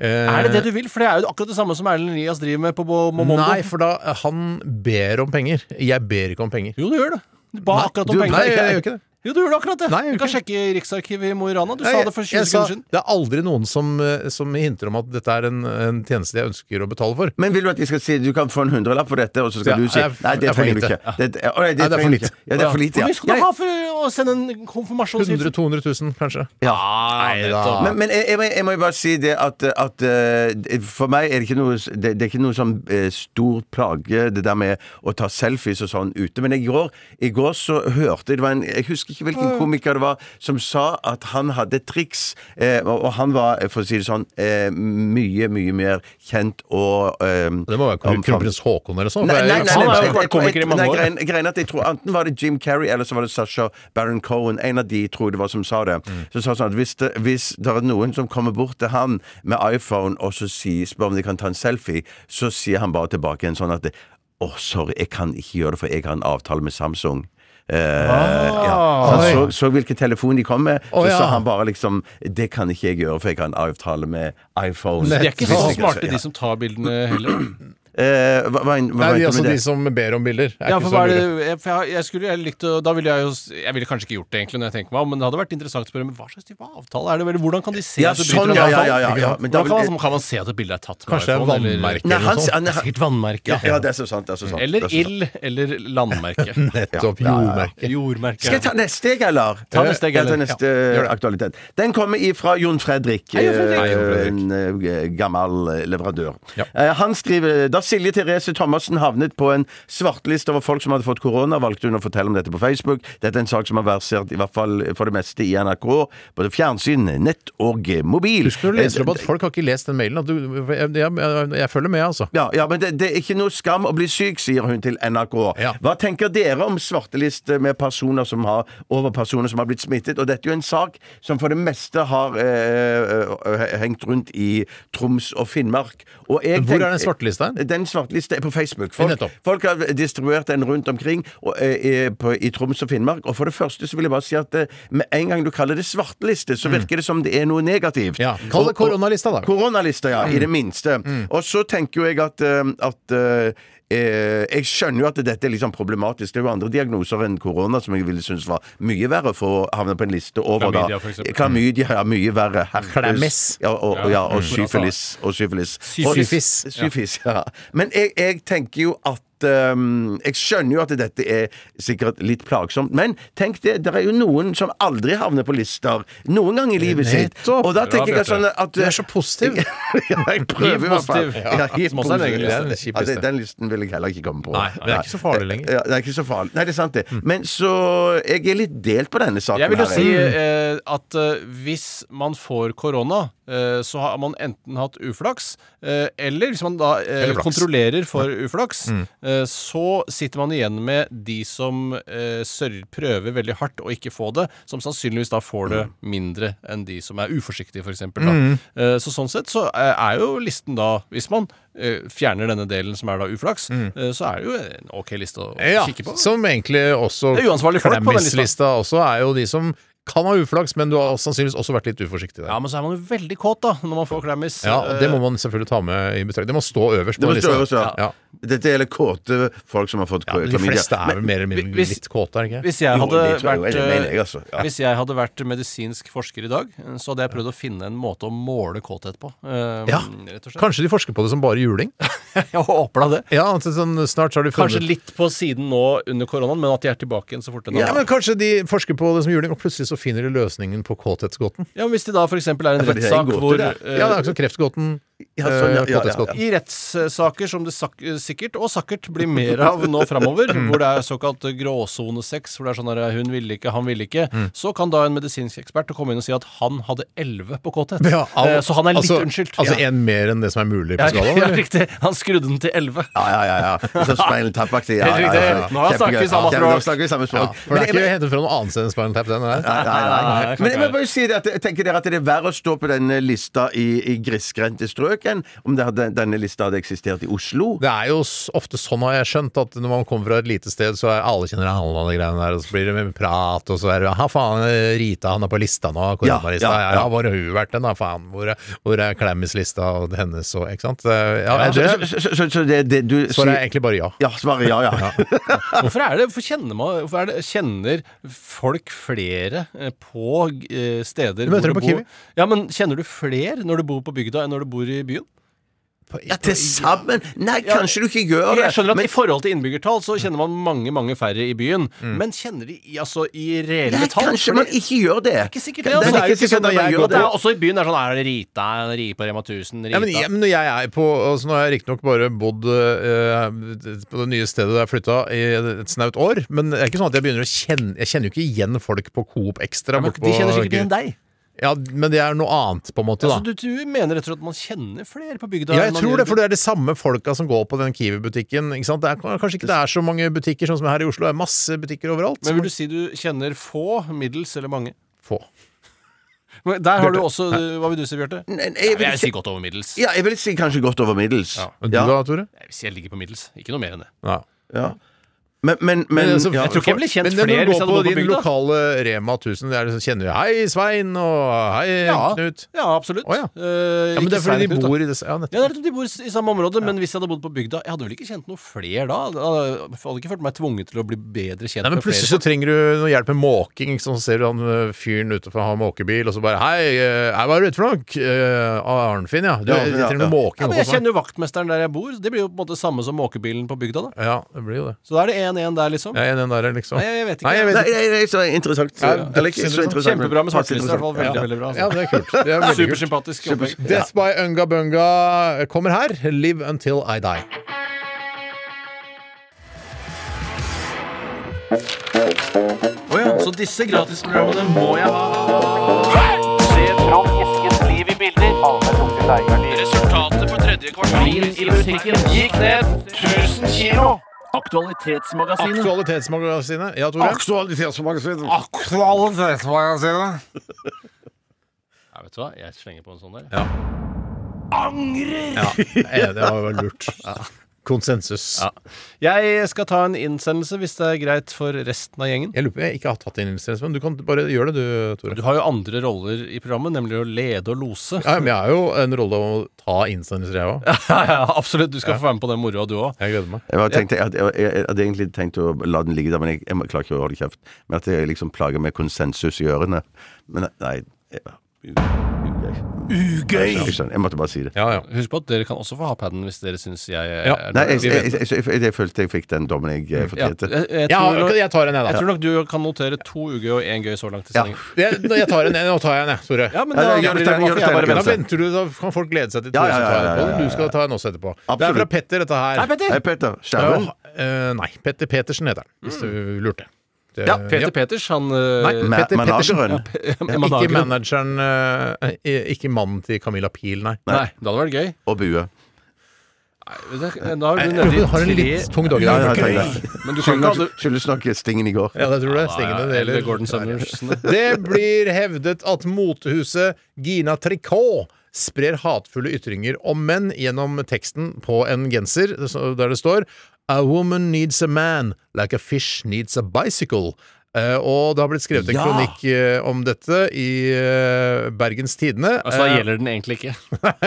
Eh,
Er det det du vil? For det er jo akkurat det samme som Erlend Elias driver med på Bo- Momondo.
Nei, for da han ber om penger. Jeg ber ikke om penger.
Jo, du gjør det. Du ba akkurat om
du-
penger.
Nei, jeg gjør ikke det.
Jo, du gjør det akkurat det.
Nei, jeg gjør
du kan
ikke
sjekke i Riksarkivet i Mo i Rana. Du
Nei,
sa
jeg-
det for 20
jeg sa-
sekunder siden.
Det er aldri noen som, eh, som hinter om at dette er en, en tjeneste jeg ønsker å betale for.
Men vil du at jeg skal si du kan få en hundrelapp for dette, og så
Ja,
skal du si
jeg-
nei, det
jeg får
trenger du
lite.
ikke. Det, å, nei,
Nei,
det trenger du ikke. Ja, det er for lite,
Hvor
ja.
mye skal du ha for å sende
100
en konfirmasjonshilsen?
000-200 000, kanskje.
Ja.
Nei da.
Men, men jeg, jeg, må- jeg må jo bare si det at, at eh, for meg er det ikke noe, det, det er ikke noe sånn eh, stor plage, det der med å ta selfies og sånn ute. Men i går, i går så hørte jeg det var en, Jeg husker ikke hvilken komiker det var som sa at han hadde et triks. eh, og, og han var, eh, for å si det sånn, eh, mye, mye mer kjent og eh,
Det må være kron-
omfavnet.
kronprins Haakon eller sånn.
Nei, nei, nei, nei,
Han har jo
jeg-
vært
jeg-
komiker i
jeg-
mange
nei,
år.
greien- greien er at jeg tror Enten var det Jim Carrey eller så var det Sasha Baron Cohen. En av de tror jeg det var som sa det. Så sa sånn at hvis det, hvis det er noen som kommer bort til han med iPhone og så sier, spør om de kan ta en selfie, så sier han bare tilbake en sånn at det- Å, sorry, jeg kan ikke gjøre det, for jeg har en avtale med Samsung. Eh,
Ah.
ja. Så Han så, så hvilken telefon de kom med,
Å,
så
ja.
sa han bare liksom Det kan ikke jeg gjøre, for jeg har en avtale med iPhone.
De er ikke så
Ja.
smarte, de som tar bildene
(clears throat)
heller.
Eh, hva, hva, hva
Nei, de, altså,
mente du med
de
det?
som ber om bilder. Er
Ja,
ikke
for
så
hva er
lure.
det, jeg, for jeg, jeg skulle jeg likte å- Da ville jeg jo s- Jeg ville kanskje ikke gjort det, egentlig, når jeg tenker meg om, men det hadde vært interessant å spørre men hva slags type avtale er det? Eller hvordan kan de se
Ja,
at du
sånn,
bryter en
ja,
avtale?
ja, ja, ja, ja, men da
Hvordan kan,
vil-
man- kan man se at et bilde er tatt med
Kanskje det er
iPhone, eller-
vannmerke
Nei,
eller noe
han-
sånt?
han-
Det er Sikkert vannmerke.
ja, ja, det er så sant. Det er så sant det
Eller
er så sant.
ild eller
(laughs)
landmerke.
(laughs) Nettopp. Jordmerke.
Jordmerke.
Skal jeg ta neste, jeg, eller?
Ta neste, jeg,
Ja, ta
eller?
neste aktualitet. Den kommer ifra Jon Fredrik,
Hei, Jon Fredrik.
eh,
Hei, Jon Fredrik.
en eh, gammel eh, leverandør.
Ja.
Eh, Han skriver da Silje Therese Thomassen havnet på en svarteliste over folk som hadde fått korona, valgte hun å fortelle om dette på Facebook. Dette er en sak som har versert i hvert fall for det meste i NRK, både fjernsyn, nett og eh, mobil.
Husk når du leser
Eh,
opp at folk har ikke lest den mailen. At du, jeg, jeg, jeg, jeg følger med, altså.
Ja, ja, men det, det er ikke noe skam å bli syk, sier hun til NRK.
Ja.
Hva tenker dere om svarteliste med personer som har, over personer som har blitt smittet? Og dette er jo en sak som for det meste har eh, eh, hengt rundt i Troms og Finnmark. Og jeg
Men hvor er
tenker-
den svartelista hen?
Den svartelista er på Facebook. Folk,
Nettopp.
folk har distribuert den rundt omkring og, eh, eh, på, i Troms og Finnmark. Og for det første så vil jeg bare si at eh, med en gang du kaller det svarteliste, så virker det som det er noe
Mm.
negativt.
Ja, kall det
Og- og-
koronalista, da. Mm.
Koronalista, ja. I det minste. Og så tenker jo jeg at, eh, at eh, eh, jeg skjønner jo at dette er litt sånn problematisk. Det er jo andre diagnoser enn korona som jeg ville synes var mye verre for å havne på en liste over.
Klamydia, for
da.
eksempel.
Klamydia, ja, mye verre. Herpes.
Klemmes.
Ja, og, og- ja,
altså-
og syfilis. Og syfilis. Og-
Syfis.
Syfis, ja. Men jeg, jeg tenker jo at ehm, jeg skjønner jo at dette er sikkert litt plagsomt, men tenk det, det er jo noen som aldri havner på lister noen gang i livet sitt.
Nettopp.
Og da tenker jeg sånn at
Du er så positiv.
(laughs) ja, jeg prøver i hvert fall.
Hiv-positiv.
Ja, hiv-positiv.
Som også er en egen liste.
Ja, det-
Kjip
ja, det-
liste.
Den listen vil jeg heller ikke komme på.
Nei, men det er ikke så farlig lenger.
Ja, det er ikke så farlig. Nei, det er sant, det. Men så Jeg er litt delt på denne saken.
Jeg vil jo
her,
si eh, at eh, hvis man får korona, eh, så har man enten hatt uflaks, eh, eller hvis man da eh,
Eller flaks. Mm.
kontrollerer for uflaks, eh, så sitter man igjen med de som eh, sør- prøver veldig hardt å ikke få det, som sannsynligvis da får det
Mm.
mindre enn de som er uforsiktige, f.eks. Mm. Eh, så sånn sett så eh, er jo listen da, hvis man eh, fjerner denne delen som er da uflaks, eh, så er det jo en ok liste å
Mm. Ja,
kikke Eh, på.
som egentlig også
Det er uansvarlige folk på den lista.
Klemmis-lista også er jo de som kan ha uflaks, men du har sannsynligvis også vært litt uforsiktig der.
Ja, men eh, så er man jo veldig kåt, da, når man får klemmis.
Ja, og Det må man selvfølgelig ta med i betraktning. Det må stå øverst. på
Det må
lista.
stå øverst, ja.
Ja.
Dette gjelder kåte folk som har fått
Ja, men de
klamydia.
fleste er vel mer eller
Men
mindre
hvis-
litt kåte, er det ikke?
Hvis jeg
Jo,
hadde
det tror jeg jo,
vært
det mener jeg,
eh,
altså. Ja.
Hvis jeg hadde vært medisinsk forsker i dag, eh, så hadde jeg prøvd å finne en måte å måle kåthet på. eh,
Ja.
Rett og slett.
Kanskje de forsker på det som bare juling?
Jeg håper da det.
Ja, altså sånn, snart så har de funnet
Kanskje litt på siden nå under koronaen, men at de er tilbake igjen så fort det
ja, men Kanskje de forsker på det som juling, og plutselig så finner de løsningen på kåthetsgåten.
Ja, men Hvis det da for eksempel er en
for det er en
rettssak
gåte,
hvor
det
Ja, det
eh,
er altså kreftgåten,
Ja, sånn, ja,
eh,
ja, ja,
kåthetsgåten.
I rettssaker som det sak sikkert og sakkert blir mer av nå framover,
Mm.
hvor det er såkalt gråsonesex, hvor det er sånn her hun ville ikke, han ville ikke,
Mm.
så kan da en medisinsk ekspert komme inn og si at han hadde elleve på kåthet.
Ja, al-
Eh, så han er litt
altså,
unnskyldt.
Altså
ja.
en mer enn det som er mulig på
(laughs) Ja,
skalaen?
ja,
eller?
riktig. Han skrudde den til elleve.
Ja, ja, ja.
(laughs)
ja. Så Spinal Tap-aktig. Ja,
Helt
ja,
riktig.
ja, ja.
Nå snakker vi
Kjempegøy.
samme
Ja,
språk.
nå snakker vi samme
Ja,
språk.
for det er ikke hentet fra noe annet enn Spinal Tap, den der.
Nei, nei, nei, nei.
Nei,
Men jeg må
klart
bare si det at jeg tenker dere at det er verre å stå på denne lista i, i grisgrendte strøk enn om det hadde, denne lista hadde eksistert i Oslo.
Det er jo s- ofte sånn, har jeg skjønt, at når man kommer fra et lite sted, så er alle kjenner alle og de greiene der, og så blir det mye prat, og så er det Ja, faen, eh, Rita, han er på lista nå, koronalista. Ja,
Ja,
ja,
ja, ja.
hvor har hun vært den, da, faen? Hvor er, hvor er Klemmis-lista og hennes og Ikke sant? Eh, Ja,
Ja, så,
det
så, så, så, så det, det du
svaret er
sier
egentlig bare ja.
Ja, svaret ja, ja.
Hvorfor er det, hvorfor kjenner, man, hvorfor er det, kjenner folk flere eh, på eh, steder
Du møter dem på
bor?
Kiwi.
Ja, men kjenner du flere når du bor på bygda enn når du bor i byen?
Ja, til sammen Nei,
Ja.
kanskje du ikke gjør det.
Jeg skjønner at
men-
i forhold til innbyggertall så kjenner man mange, mange færre i byen. Men kjenner de i, altså, i reelle
Nei,
tall?
kanskje
For
man
det
ikke gjør det.
er ikke sikkert det. Altså,
Det er
det er jo
ikke sikkert
ikke sånn at
at man
jeg
gjør
går
det.
der. Også i byen er det sånn Er det Rita? Er det Ri på Rema 1000? Rita?
Ja, men, jeg, men jeg er på altså, Nå har jeg riktignok bare bodd eh, på det nye stedet der jeg flytta i et snaut år, men det er ikke sånn at jeg begynner å kjenne Jeg kjenner jo ikke igjen folk på Coop Extra.
Men
bort
de
på-
kjenner sikkert igjen deg.
Ja, men det er noe annet, på en måte, da.
Altså, du, du mener rett og slett at man kjenner flere på bygda?
Ja, jeg
enn man
tror
gjør
det,
i
for det er de samme folka som går på den Kiwi-butikken. ikke sant? Det er kan- kanskje ikke det er så mange butikker sånn som her i Oslo. Det er masse butikker overalt.
Men vil du si du kjenner få, middels eller mange?
Få.
Men der har du også Hva vil du si, Bjarte?
Nei, jeg, vil,
Jeg si godt over middels.
ja, jeg vil si kanskje godt over middels. Ja.
Men du da, Tore?
Hvis jeg ligger på middels. Ikke noe mer enn det.
Ja.
Ja. Men, men, men,
Men altså,
ja.
jeg tror ikke jeg ble kjent
men når
flere
du
hvis
går
jeg hadde
på
bodd på
din
bygda.
lokale Rema 1000, det er, det som kjenner jo Hei, Svein, og hei, Knut.
ja absolutt.
Å, ja.
Eh,
Ja, men det
ikke
er fordi
Svein
de
Knut, da.
bor i det s- Ja, nettopp.
Ja, det er nettopp, De bor i samme område, men hvis jeg hadde bodd på bygda Jeg hadde vel ikke kjent noe flere da? Jeg hadde ikke følt meg tvunget til å bli bedre kjent
Nei, men
med flere.
Plutselig så trenger du noe hjelp med måking. Ikke sant? Så ser du han ø, fyren utenfor har måkebil, og så bare Hei, ø, hei, hva er du ute for noe? «Ø, Arnfinn, ja. Du,
Ja,
vi
ja,
trenger noe
ja.
måking.
ja, men Jeg
også.
kjenner jo vaktmesteren der jeg bor. Det blir jo på en måte samme som måkebilen på bygda. da
Ja, det blir jo det.
Så da er det 1-1 der, liksom.
Jeg er den der, liksom.
Nei, jeg vet ikke.
Nei, jeg vet
Nei, nei, nei, så interessant. Eller ikke så interessant. men
Kjempebra med
passe
svarteliste, i hvert fall. Veldig, veldig bra.
Ja,
Altså.
det er kult. Det er veldig kult.
Supersympatisk. opplegg.
Death by Unga Bunga kommer her. Live until I die.
Å ja, så disse gratisprogrammene må jeg ha.
Resultatet for tredje kvartal i musikken gikk ned 1000 kilo. Aktualitetsmagasinet.
Aktualitetsmagasinet. Ja, Tore? (laughs)
Ja, vet du hva, jeg slenger på en sånn der.
Eh, Det var jo lurt. Konsensus.
Jeg skal ta en innsendelse, hvis det er greit for resten av gjengen.
Jeg lurer på jeg ikke har tatt inn innstillelse, men du kan bare gjøre det, du, Tore.
Du har jo andre roller i programmet, nemlig å lede og lose.
Ja, men jeg har jo en rolle å ta innsendelser, jeg òg.
Ja, ja, absolutt. Du skal få være med på den moroa, du òg.
Jeg gleder meg.
Jeg, bare tenkte, jeg, hadde- jeg, jeg, jeg hadde egentlig tenkt å la den ligge der, men jeg, jeg må- klarer ikke å holde kjeft. Men at jeg liksom plager med konsensus i ørene. Men nei jeg-
Ugøy!
Jeg, skjønner, jeg måtte bare si det.
Ja, ja.
Husk på at dere kan også få ha paden hvis dere syns jeg
Ja.
er
Nei, jeg, jeg, jeg, jeg, jeg, jeg følte jeg fikk den dommen jeg eh,
Ja, jeg,
fortjente.
jeg,
Jeg,
tror
har,
nok,
jeg tar en, jeg,
jeg
da.
tror nok du kan notere to ugøy og én gøy så langt i
Ja.
sendingen.
Jeg, jeg tar en, nå tar jeg en, jeg, Tore.
Ja, men
Ja, det-
da
gjør
blir
det sterk-
det
gjør
Men
det sterk-
jeg bare
da
gjør det sterk.
venter du, da kan folk glede seg til
Ja,
Tore
ja,
som
ja,
tar en på
ja, ja,
den.
ja.
Du skal ta en også etterpå. Det er
Absolutt.
fra Petter, dette her.
Hei, Petter!
Hei, Petter. Skjerven.
Ja, eh, nei, Petter Petersen heter han,
Mm.
hvis du lurte. Det-
Ja, Peter Peters, han eh,
Nei,
Ma-
Petter Pettersen.
Manageren.
Ikke
Manageren.
manageren eh, eh, Ikke mannen til Camilla Pil, nei.
Nei, det hadde vært gøy.
Og Bue.
Nei, Da er
Jeg tror
du nede
Du har en
i
litt
tre
tung dag i
Ja, ja,
dag.
jeg tenkte det.
Men du kan ikke ha
Skyldes- Skyldes nok stingen i går.
Ja, det tror jeg. Stingene
det.
det
Eller
gjelder.
Gordon
(laughs)
Sanders.
Det blir hevdet at motehuset Gina Tricot sprer hatefulle ytringer om menn gjennom teksten på en genser så- der det står A woman needs a man like a fish needs a bicycle. Eh, og det har blitt skrevet en
Ja.
kronikk eh, om dette i eh, Bergens Tidende.
Altså, da
Eh,
gjelder den egentlig ikke.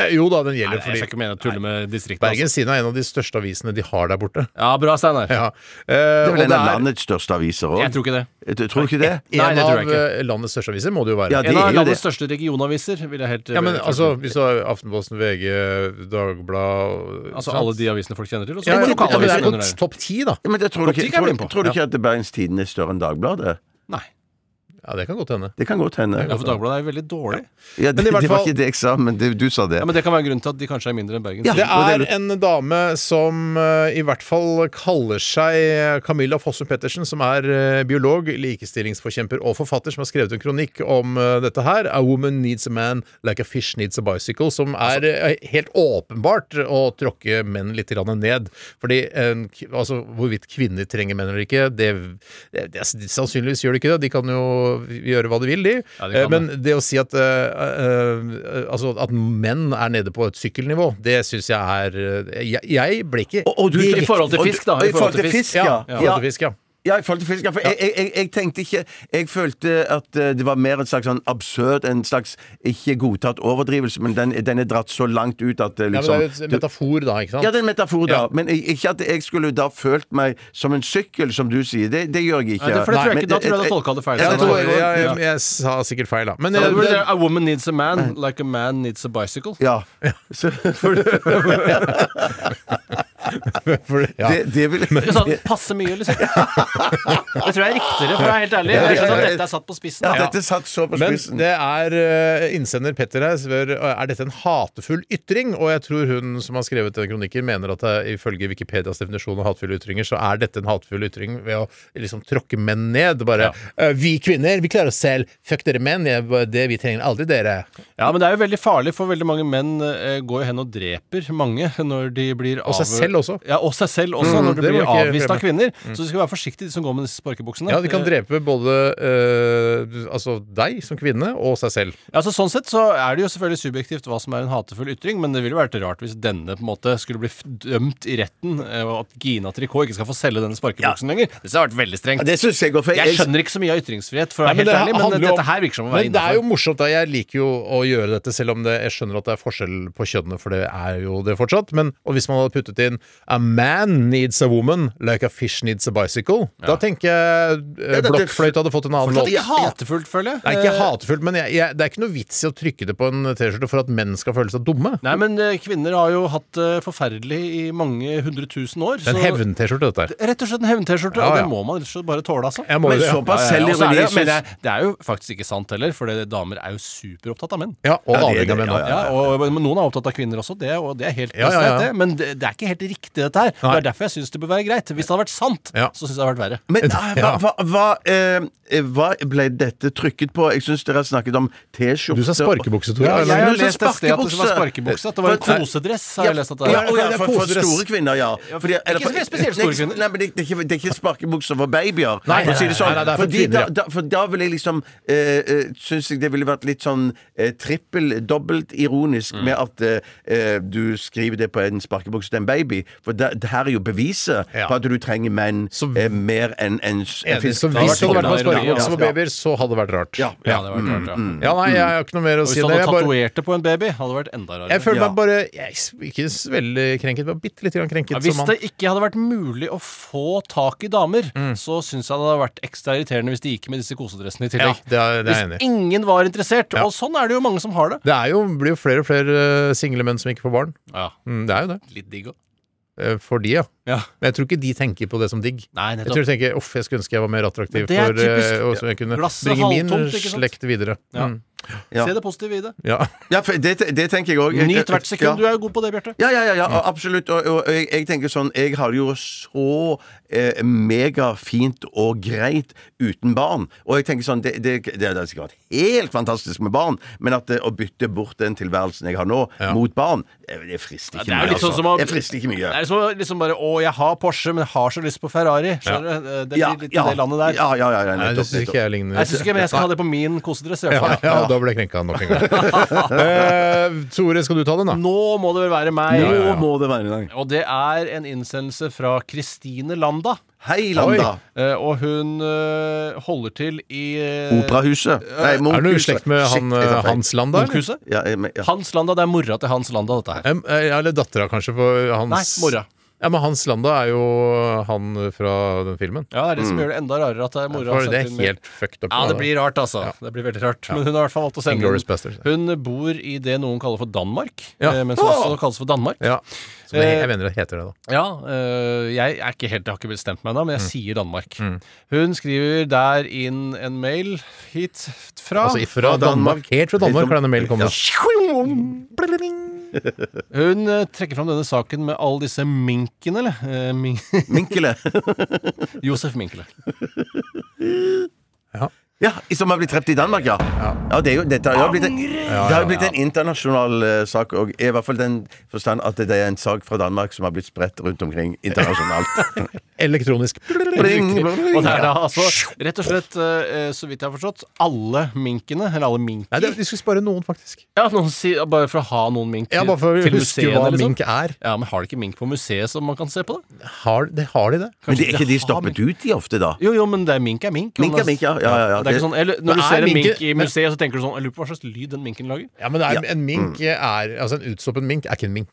(laughs) jo da, den gjelder
Jeg skal
fordi
ikke mene å tulle med distriktet. altså.
Bergens Tidende er en av de største avisene de har der borte.
Ja, bra, Steinar.
Ja. Eh,
Det er
og
vel en
det
av
er-
landets største aviser òg.
Jeg tror ikke det.
Jeg Tror du ikke det?
Nei,
En
det
av
tror jeg ikke.
eh, landets største aviser må det jo være.
Ja,
En
det
av
er jo det.
landets største regionaviser, vil jeg helt eh,
Ja, men altså, hvis du har Aftenposten, VG, Dagbladet
Altså
sant?
alle de avisene folk kjenner til. Og så
ja, men
kommer
det
lokalavisene
er
under
på
der.
topp ti, da.
Ja, men det tror du
Optikk
ikke,
er vi inne på.
tror, tror du ikke at Bergens Tidende er større enn Dagbladet?
Nei.
Ja, Det kan godt hende.
Det kan godt hende.
Ja, for Dagbladet er jo veldig dårlig.
Ja, det,
i hvert
det var
fall-
ikke det jeg sa, men det, du sa det.
Ja, Men det kan være grunnen til at de kanskje er mindre enn Bergen.
Ja.
Det
og det
er
er
en dame som eh, i hvert fall kaller seg Camilla Fossum Pettersen, som er eh, biolog, likestillingsforkjemper og forfatter, som har skrevet en kronikk om eh, dette her. A woman needs a man like a fish needs a bicycle. Som er eh, helt åpenbart å tråkke menn litt grann ned. Fordi en k- altså, hvorvidt kvinner trenger menn eller ikke, det, det, det sannsynligvis gjør de ikke det. De kan jo gjøre hva de vil, de.
Ja, de kan
Eh, men det å si at, eh, eh, eh, altså at menn er nede på et sykkelnivå, det syns jeg er eh, jeg, jeg ble ikke
Og- og du-
I forhold til
og du-
fisk, da.
og I forhold til fisk, ja.
Ja, ja. Fisk, ja.
Ja, i forhold til fisk. ja, For jeg, jeg, jeg, jeg tenkte ikke Jeg følte at eh, det var mer en slags sånn absurd, en slags ikke godtatt overdrivelse, men den, den er dratt så langt ut at det
Ja, men det
liksom
er jo en metafor, da. ikke sant?
Ja, det er en metafor, da.
Ja.
Men jeg- ikke at jeg skulle da følt meg som en sykkel, som du sier. Det, det gjør jeg ikke.
Nei, det- for det tror jeg ikke. Da tror jeg du tolka det feil.
Ja,
det
jeg, tror,
tror jeg
jeg, jeg,
også.
jeg, sa sikkert feil, da. Men
Ja,
eh,
det burde
det-
være, A woman needs a man like a man needs a bicycle.
Ja. Så, for,
for, ja.
det, det vil
Ikke sant? passe mye, liksom. Det tror jeg er riktigere, for å være helt ærlig. Jeg skjønner at dette er satt på spissen.
Ja,
da.
dette satt så på
Men
spissen.
det er eh, innsender Petter her spør er dette en hatefull ytring. Og jeg tror hun som har skrevet denne kronikken, mener at det, ifølge Wikipedias definisjon av hatefulle ytringer, så er dette en hatefull ytring ved å liksom tråkke menn ned. Bare «Eh, 'Vi kvinner, vi klarer oss selv. Fuck dere menn. Jeg, det, vi trenger aldri dere'.
Ja, men det er jo veldig farlig, for veldig mange menn eh, går jo hen og dreper mange når de blir av...
Og seg selv også.
Ja, og seg selv også,
Mm,
når de
det må
blir
vi ikke
avvist av
glemme.
kvinner. Så de skal være forsiktige, de som går med disse sparkebuksene.
Ja, de kan
Eh,
drepe både eh, altså deg som kvinne og seg selv.
Ja, så Sånn sett så er det jo selvfølgelig subjektivt hva som er en hatefull ytring, men det ville jo vært rart hvis denne på en måte skulle bli f- dømt i retten, eh, og at Gina Tricot ikke skal få selge denne sparkebuksen lenger. Det synes jeg har vært veldig
Ja,
strengt.
Det syns jeg går feil.
Jeg skjønner ikke så mye av ytringsfrihet, for å være
Nei, men
helt
det
ærlig, men
handler jo om-
dette her virker som å være
Men det er jo
innafor.
morsomt. da Jeg liker jo å gjøre dette, selv om det, jeg skjønner at det er forskjell på kjønnene, for det er jo det fortsatt. Men og hvis man hadde puttet inn 'A man needs a woman like a fish needs a bicycle', da tenker jeg eh,
Ja, dette-
blokkfløyte hadde fått en annen låt.
Ikke hatefullt, føler jeg.
Det er ikke
Eh,
hatefullt, men jeg, jeg, det er ikke noe vits i å trykke det på en T-skjorte for at menn skal føle seg dumme.
Nei, men eh, kvinner har jo hatt det forferdelig i mange hundre tusen år.
Det er en
så-
hevn-T-skjorte, dette her.
Rett og slett en hevn-T-skjorte,
Ja,
og det
ja.
må man rett og slett bare tåle, altså.
Jeg må
Men
jo det, sånn- ja.
såpass
Ja, ja, og så
selvironi
er det, men det,
syns
det er jo faktisk ikke sant heller, for det, damer er jo superopptatt av menn.
Ja, og
Ja, det er
avhengig
det,
av menn.
ja,
også.
Ja, og, men noen er opptatt av kvinner også, det, og det er helt
Ja, ja, ja.
greit, det. Men det, det er ikke helt riktig, dette her.
Nei.
Det er derfor jeg syns det bør være greit. Hvis det hadde vært sant,
Ja.
så syns jeg det hadde vært verre.
Men ah, hva,
Ja.
hva, hva, eh, hva ble dette trykket på? Jeg syns dere har snakket om T-skjorte.
Du sa sparkebukse, Tore.
Ja,
eller?
ja,
jeg
men
har
så
lest et sted at det var
sparkebukse.
sparkebukse. At det var en
For-
kosedress, har jeg lest at det
ja,
er.
og ja, for, for
kosedress.
store kvinner, ja. Fordi- eller for-
ikke spesielt store
Nei,
kvinner.
Nei, men det, det, er ikke, det er ikke sparkebukser for babyer.
Nei,
for å si det sånn.
nei, nei, det er for
Fordi
kvinner, ja.
da, da, for da ville jeg liksom eh, eh, Syns jeg det ville vært litt sånn eh, trippel, dobbelt ironisk
Mm.
med at eh, eh, du skriver det på en sparkebukse til en baby. For da- det her er jo beviset
Ja.
på at du trenger menn
Så-
eh, mer enn en, s- en
Enig.
fisk.
Så hvis det hadde vært noen
Ja, ja, ja.
sparkebukser på babyer, så hadde det vært rart.
Ja.
Ja, det hadde vært rart, ja.
Ja, nei, jeg har ikke noe mer å
Og
Mm. si.
hvis du
det.
hadde
Jeg bare-
tatovert det på en baby, hadde det vært enda
Jeg
rarere.
føler
Ja.
meg bare jeg, er s- Ikke s- veldig krenket, men bitte litt grann krenket.
Ja, hvis
som
det
han. Mm.
ikke hadde vært mulig å få tak i damer, så syns jeg det hadde vært ekstra irriterende hvis de gikk med disse kosedressene i
Ja,
tillegg.
det er, det er jeg enig
hvis
i.
ingen var interessert,
Ja.
og sånn er det jo mange som har det.
Det er jo, blir jo flere og flere eh, single menn som ikke får barn.
Ja,
Mm, det er jo det.
litt digg òg.
Eh, For de, ja.
Ja.
Men jeg tror ikke de tenker på det som digg.
Nei,
Jeg tror
nettopp.
de tenker uff, jeg skulle ønske jeg var mer attraktiv,
Men det er
for, eh,
typisk-
og så jeg kunne
Glasset
bringe min
halvtomt, ikke sant?
slekt videre.
Ja.
Mm.
Ja.
Se det positive i det.
Ja.
Ja, for det, det tenker jeg òg.
Nyt hvert sekund.
Ja.
Du er jo god på det, Bjarte.
Ja, ja, ja, ja absolutt. Og, og, og jeg, jeg tenker sånn Jeg har det jo så eh, megafint og greit uten barn. Og jeg tenker sånn Det, det, det hadde sikkert vært helt fantastisk med barn, men at det, å bytte bort den tilværelsen jeg har nå, mot barn, eh, det frister ikke
det er jo
mye.
litt sånn
altså.
som å-
Det frister ikke mye.
Det er som å liksom bare Å, jeg har Porsche, men jeg har så lyst på Ferrari. Skjønner du? Det blir
Ja,
litt i
ja,
det landet der.
ja, ja, ja, ja,
Nei, (laughs) det
nettopp,
syns ikke
nettopp.
jeg ligner
Jeg syns ikke, men jeg skal ha det på min kosedress. i hvert
ja,
fall.
(laughs) ja, da ble jeg krenka nok
(laughs)
en gang. Eh, Tore, skal du ta den, da?
Nå må det vel være meg.
Ja, ja, ja.
Nå må det være i dag.
Og det er en innsendelse fra Kristine Landa.
Hei, Landa.
Eh, Og hun eh, holder til i eh,
Operahuset. Nei,
Er du noe i
Munchhuset.
slekt med
Shit,
han,
jeg tar
eh,
feil.
Hans Land, da? eller?
Munkhuset.
Ja, jeg- men- ja.
Hans Landa. Det er mora til Hans Landa, dette her.
Em, eh, Eller dattera, kanskje, for
Nei,
hans
mora.
Ja, men Hans Landa er jo han fra den filmen.
Ja, det er det som gjør det enda rarere at det er mora
For
har
det er
sendt inn mail.
helt fucked up.
Ja, det
da.
blir rart, altså. Det blir veldig rart. Men hun har i hvert fall valgt å sende
Inglourious
den.
Basterds.
Hun bor i det noen kaller for Danmark,
Ja.
eh, men som også kalles for Danmark.
Ja. Eh, Så det, jeg mener det heter det, da.
Ja, øh, jeg er ikke helt, jeg har ikke bestemt meg ennå, men jeg
Mm.
sier Danmark. Hun skriver der inn en mail hit fra
Altså fra
fra Danmark.
Danmark. Helt fra Danmark har denne mailen kommet.
Hun øh, trekker fram denne saken med alle disse minkene, eller? Eh, min
Minkele.
(laughs) Josef Minkele.
Ja, som har blitt drept i Danmark, ja. ja det er jo, dette har jo blitt en, det har jo blitt en internasjonal eh, sak, og i hvert fall den forstand at det er en sak fra Danmark som har blitt spredt rundt omkring
(laughs)
internasjonalt.
Elektronisk.
Bling, bling.
Og det er da altså rett og slett, øh, så vidt jeg har forstått, alle minkene, eller alle
Nei,
minker
det, de skulle spare noen, faktisk.
Ja, noen sier, bare for å ha noen mink
Ja,
til,
bare for å
til
huske
museene,
hva
liksom.
mink er.
Ja, men har de ikke mink på museet som man kan se på, da?
Har, det, har de det?
Men det er ikke de
har
stoppet ut de ofte, da?
Jo, jo, men det er mink er mink. og
Mink er
det-
mink, ja, ja, ja, ja.
Det er ikke sånn, eller, når
Men er
du ser en mink
minker-
i museet, så tenker du sånn Jeg lurer på hva slags lyd den minken lager.
Ja, men det er, en mink er Altså, en utstoppet mink er ikke en mink.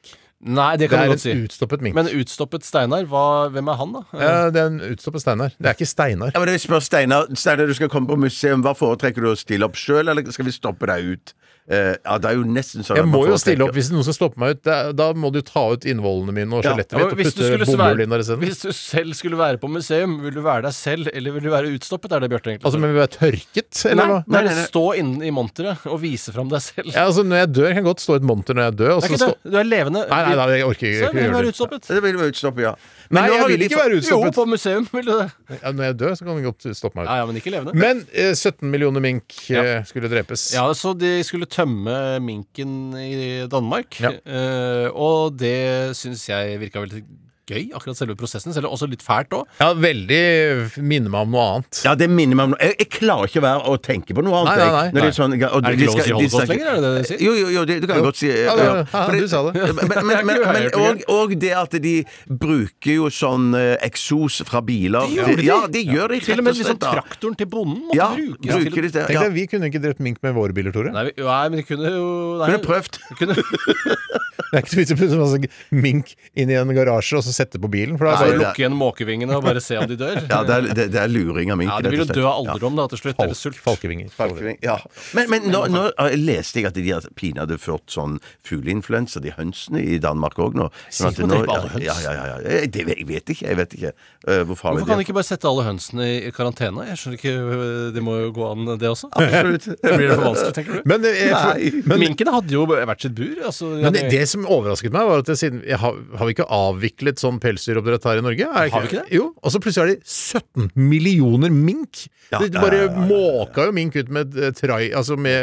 Nei,
Det
det kan du
er
godt
en
si.
utstoppet mink.
Men utstoppet Steinar, hva, hvem er han, da?
Ja, det er en utstoppet Steinar. Det er ikke Steinar.
Ja, men jeg spør Steinar, Steinar, du skal komme på museum. Hva foretrekker du å stille opp sjøl, eller skal vi stoppe deg ut? Eh, ja, det er jo nesten sånn at
Jeg
man
må jo
foretrekker-
stille opp hvis noen skal stoppe meg ut. Da, da må du ta ut innvollene mine og
Ja.
skjelettet
Ja, men
mitt og
hvis, du skulle
putte bomull inn der
svære,
isteden.
hvis du selv skulle være på museum, vil du være deg selv, eller vil du være utstoppet? Er det Bjarte egentlig?
Altså, men vi er tørket, eller
nei,
hva?
nei, stå inne i monteret og vise fram deg selv.
Ja, altså, når jeg dør, kan jeg godt stå i et monter når jeg dør. Og
Det
så
er ikke
stå...
det. Du er levende.
Nei, nei, nei, jeg orker ikke
Så vil du
gjøre
være
det.
utstoppet.
Det vil vi utstoppe, ja.
Nei,
nå
jeg
har vi
vil
de
ikke
for-
være
Jo,
utstoppet.
på museum vil du det.
Ja, når jeg dør, så kan du godt stoppe meg ut.
Ja, ja, men ikke levende.
Men eh, 17 millioner mink eh, skulle drepes.
Ja, så de skulle tømme minken i Danmark.
Ja.
eh, og det syns jeg virka veldig gøy, akkurat selve prosessen. Selv om også litt fælt òg.
Ja, veldig minner meg om noe annet.
Ja, det minner meg om noe. Jeg, jeg klarer ikke å være å tenke på noe annet.
Nei,
jeg.
nei, nei.
Når det er, sånn, og
Er det
de
ikke lov å
skal-
si
de
holocaust
snakker-
lenger? Er det det du sier?
Jo, jo, jo, det, du kan godt si
Ja, det- ja,
For
du sa det.
(laughs) Men, men, men, men,
Jeg hørte
og, og det at de bruker jo sånn eh, eksos fra biler.
gjorde de.
Ja, de gjør det
Til og med liksom
da.
traktoren til bonden måtte
Ja,
brukes
bruker
til
de det.
Tenk
Ja.
deg, Vi kunne ikke drept mink med våre biler, Tore.
Nei, vi- nei, men de kunne jo nei,
Kunne prøvd.
de kunne,
Det er ikke så vits i å putte masse mink inn i en garasje og så sette på bilen. For da
bare
er det
det-
lukke igjen måkevingene og bare se om de dør.
Ja, det er, det, det er luring av mink.
Ja, de vil jo
rett og slett.
dø av alderdom da, til slutt. Eller
bare
sult.
falk- falkevinger.
Falkeving, Ja. Men, men nå, nå eh, leste jeg at de har pinadø ført sånn fugleinfluensa, de hønsene, i Danmark òg nå. Sånn at
Sier man
nå-
det på alle høns?
ja, ja, ja, ja. Jeg, det, jeg vet ikke, jeg vet ikke eh, hvor farlig
Hvorfor kan de
det er.
ikke bare sette alle hønsene i karantene? Jeg skjønner ikke, øh, Det må jo gå an, det også.
Absolutt.
Blir det for vanskelig, tenker du?
Men, eh, for-
Nei.
men,
Minkene hadde jo hvert sitt bur. Altså, de
men det,
hadde-
det som overrasket meg, var at det, siden jeg har, har vi ikke avviklet sånn pelsdyroppdrett her i Norge? Er
Har vi ikke det?
Jo, Og så plutselig er det 17 millioner mink! de bare måka jo mink ut med eh, trai, altså med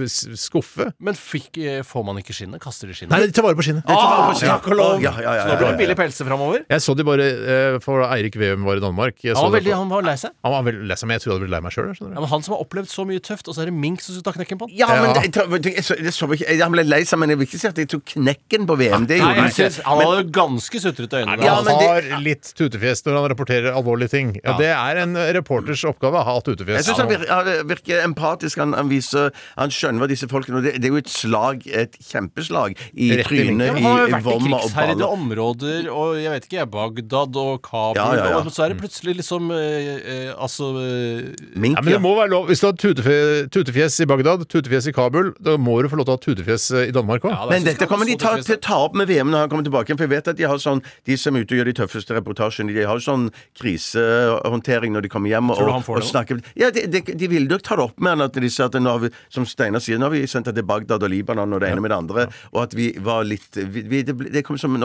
eh, s- skuffe.
Men fikk, eh, får man ikke skinnet? Kaster de skinnet?
Nei, de tar vare på skinnet.
Ah,
skinnet.
takk og lov!
Ja, ja, ja,
Så nå
ja,
blir
ja.
det billig pelse framover.
Jeg så de bare eh, for Eirik Veum var i Danmark. Jeg
Han
så
var,
det
veldig,
på-
han var lei seg.
han var veldig lei seg, men jeg trodde jeg ble lei meg sjøl.
Ja, men han som har opplevd så mye tøft, og så er det mink som skal ta knekken på han.
(laughs) Ja, men det, jeg, tror- vet du, jeg, så- jeg, så ikke- jeg, han ble lei seg, men jeg vil ikke si at jeg tok knekken på VM. Det gjorde
Nei,
jeg
jeg synes,
ikke.
han hadde jo ganske sutrete øyne.
Ja,
han
men det-
har litt tutefjes når han rapporterer alvorlige ting. Ja, Det er en reporters oppgave å ha
Jeg
tutefjes.
syns han vir, ja, virker empatisk. Han, han, viser, han skjønner hva disse folkene Og det, det er jo et slag, et kjempeslag, i
Rett i linken.
trynet,
Ja, men han har jo
i
vært i
vomma og
krigsherjede
baller.
områder, og jeg vet ikke, jeg, Bagdad og Kabul
Ja, ja, ja.
og- Men så er det plutselig liksom eh, eh, Altså eh,
Mink,
Ja, men det
ja.
må være lov. Hvis du har tutefe- tutefjes i Bagdad, tutefjes i Kabul, da må du få lov til å ha tutefjes eh, i Danmark òg.
ja,
Men
det er-
dette kommer de ta,
så
til å
trist.
ta opp med VM når han kommer tilbake igjen. For jeg vet at de har sånn De som er ute og gjør de tøffeste reportasjene, de har jo sånn krisehåndtering når de kommer hjem og,
Tror du han får
og
det nå?
snakker Ja, de, de, de ville nok ta det opp med han at de sa at nå har vi, som Steinar sier, nå har vi sendt det til Bagdad og Libanon og det ene med det andre, og at vi var litt vi, vi, det, ble- det kom som en
Vi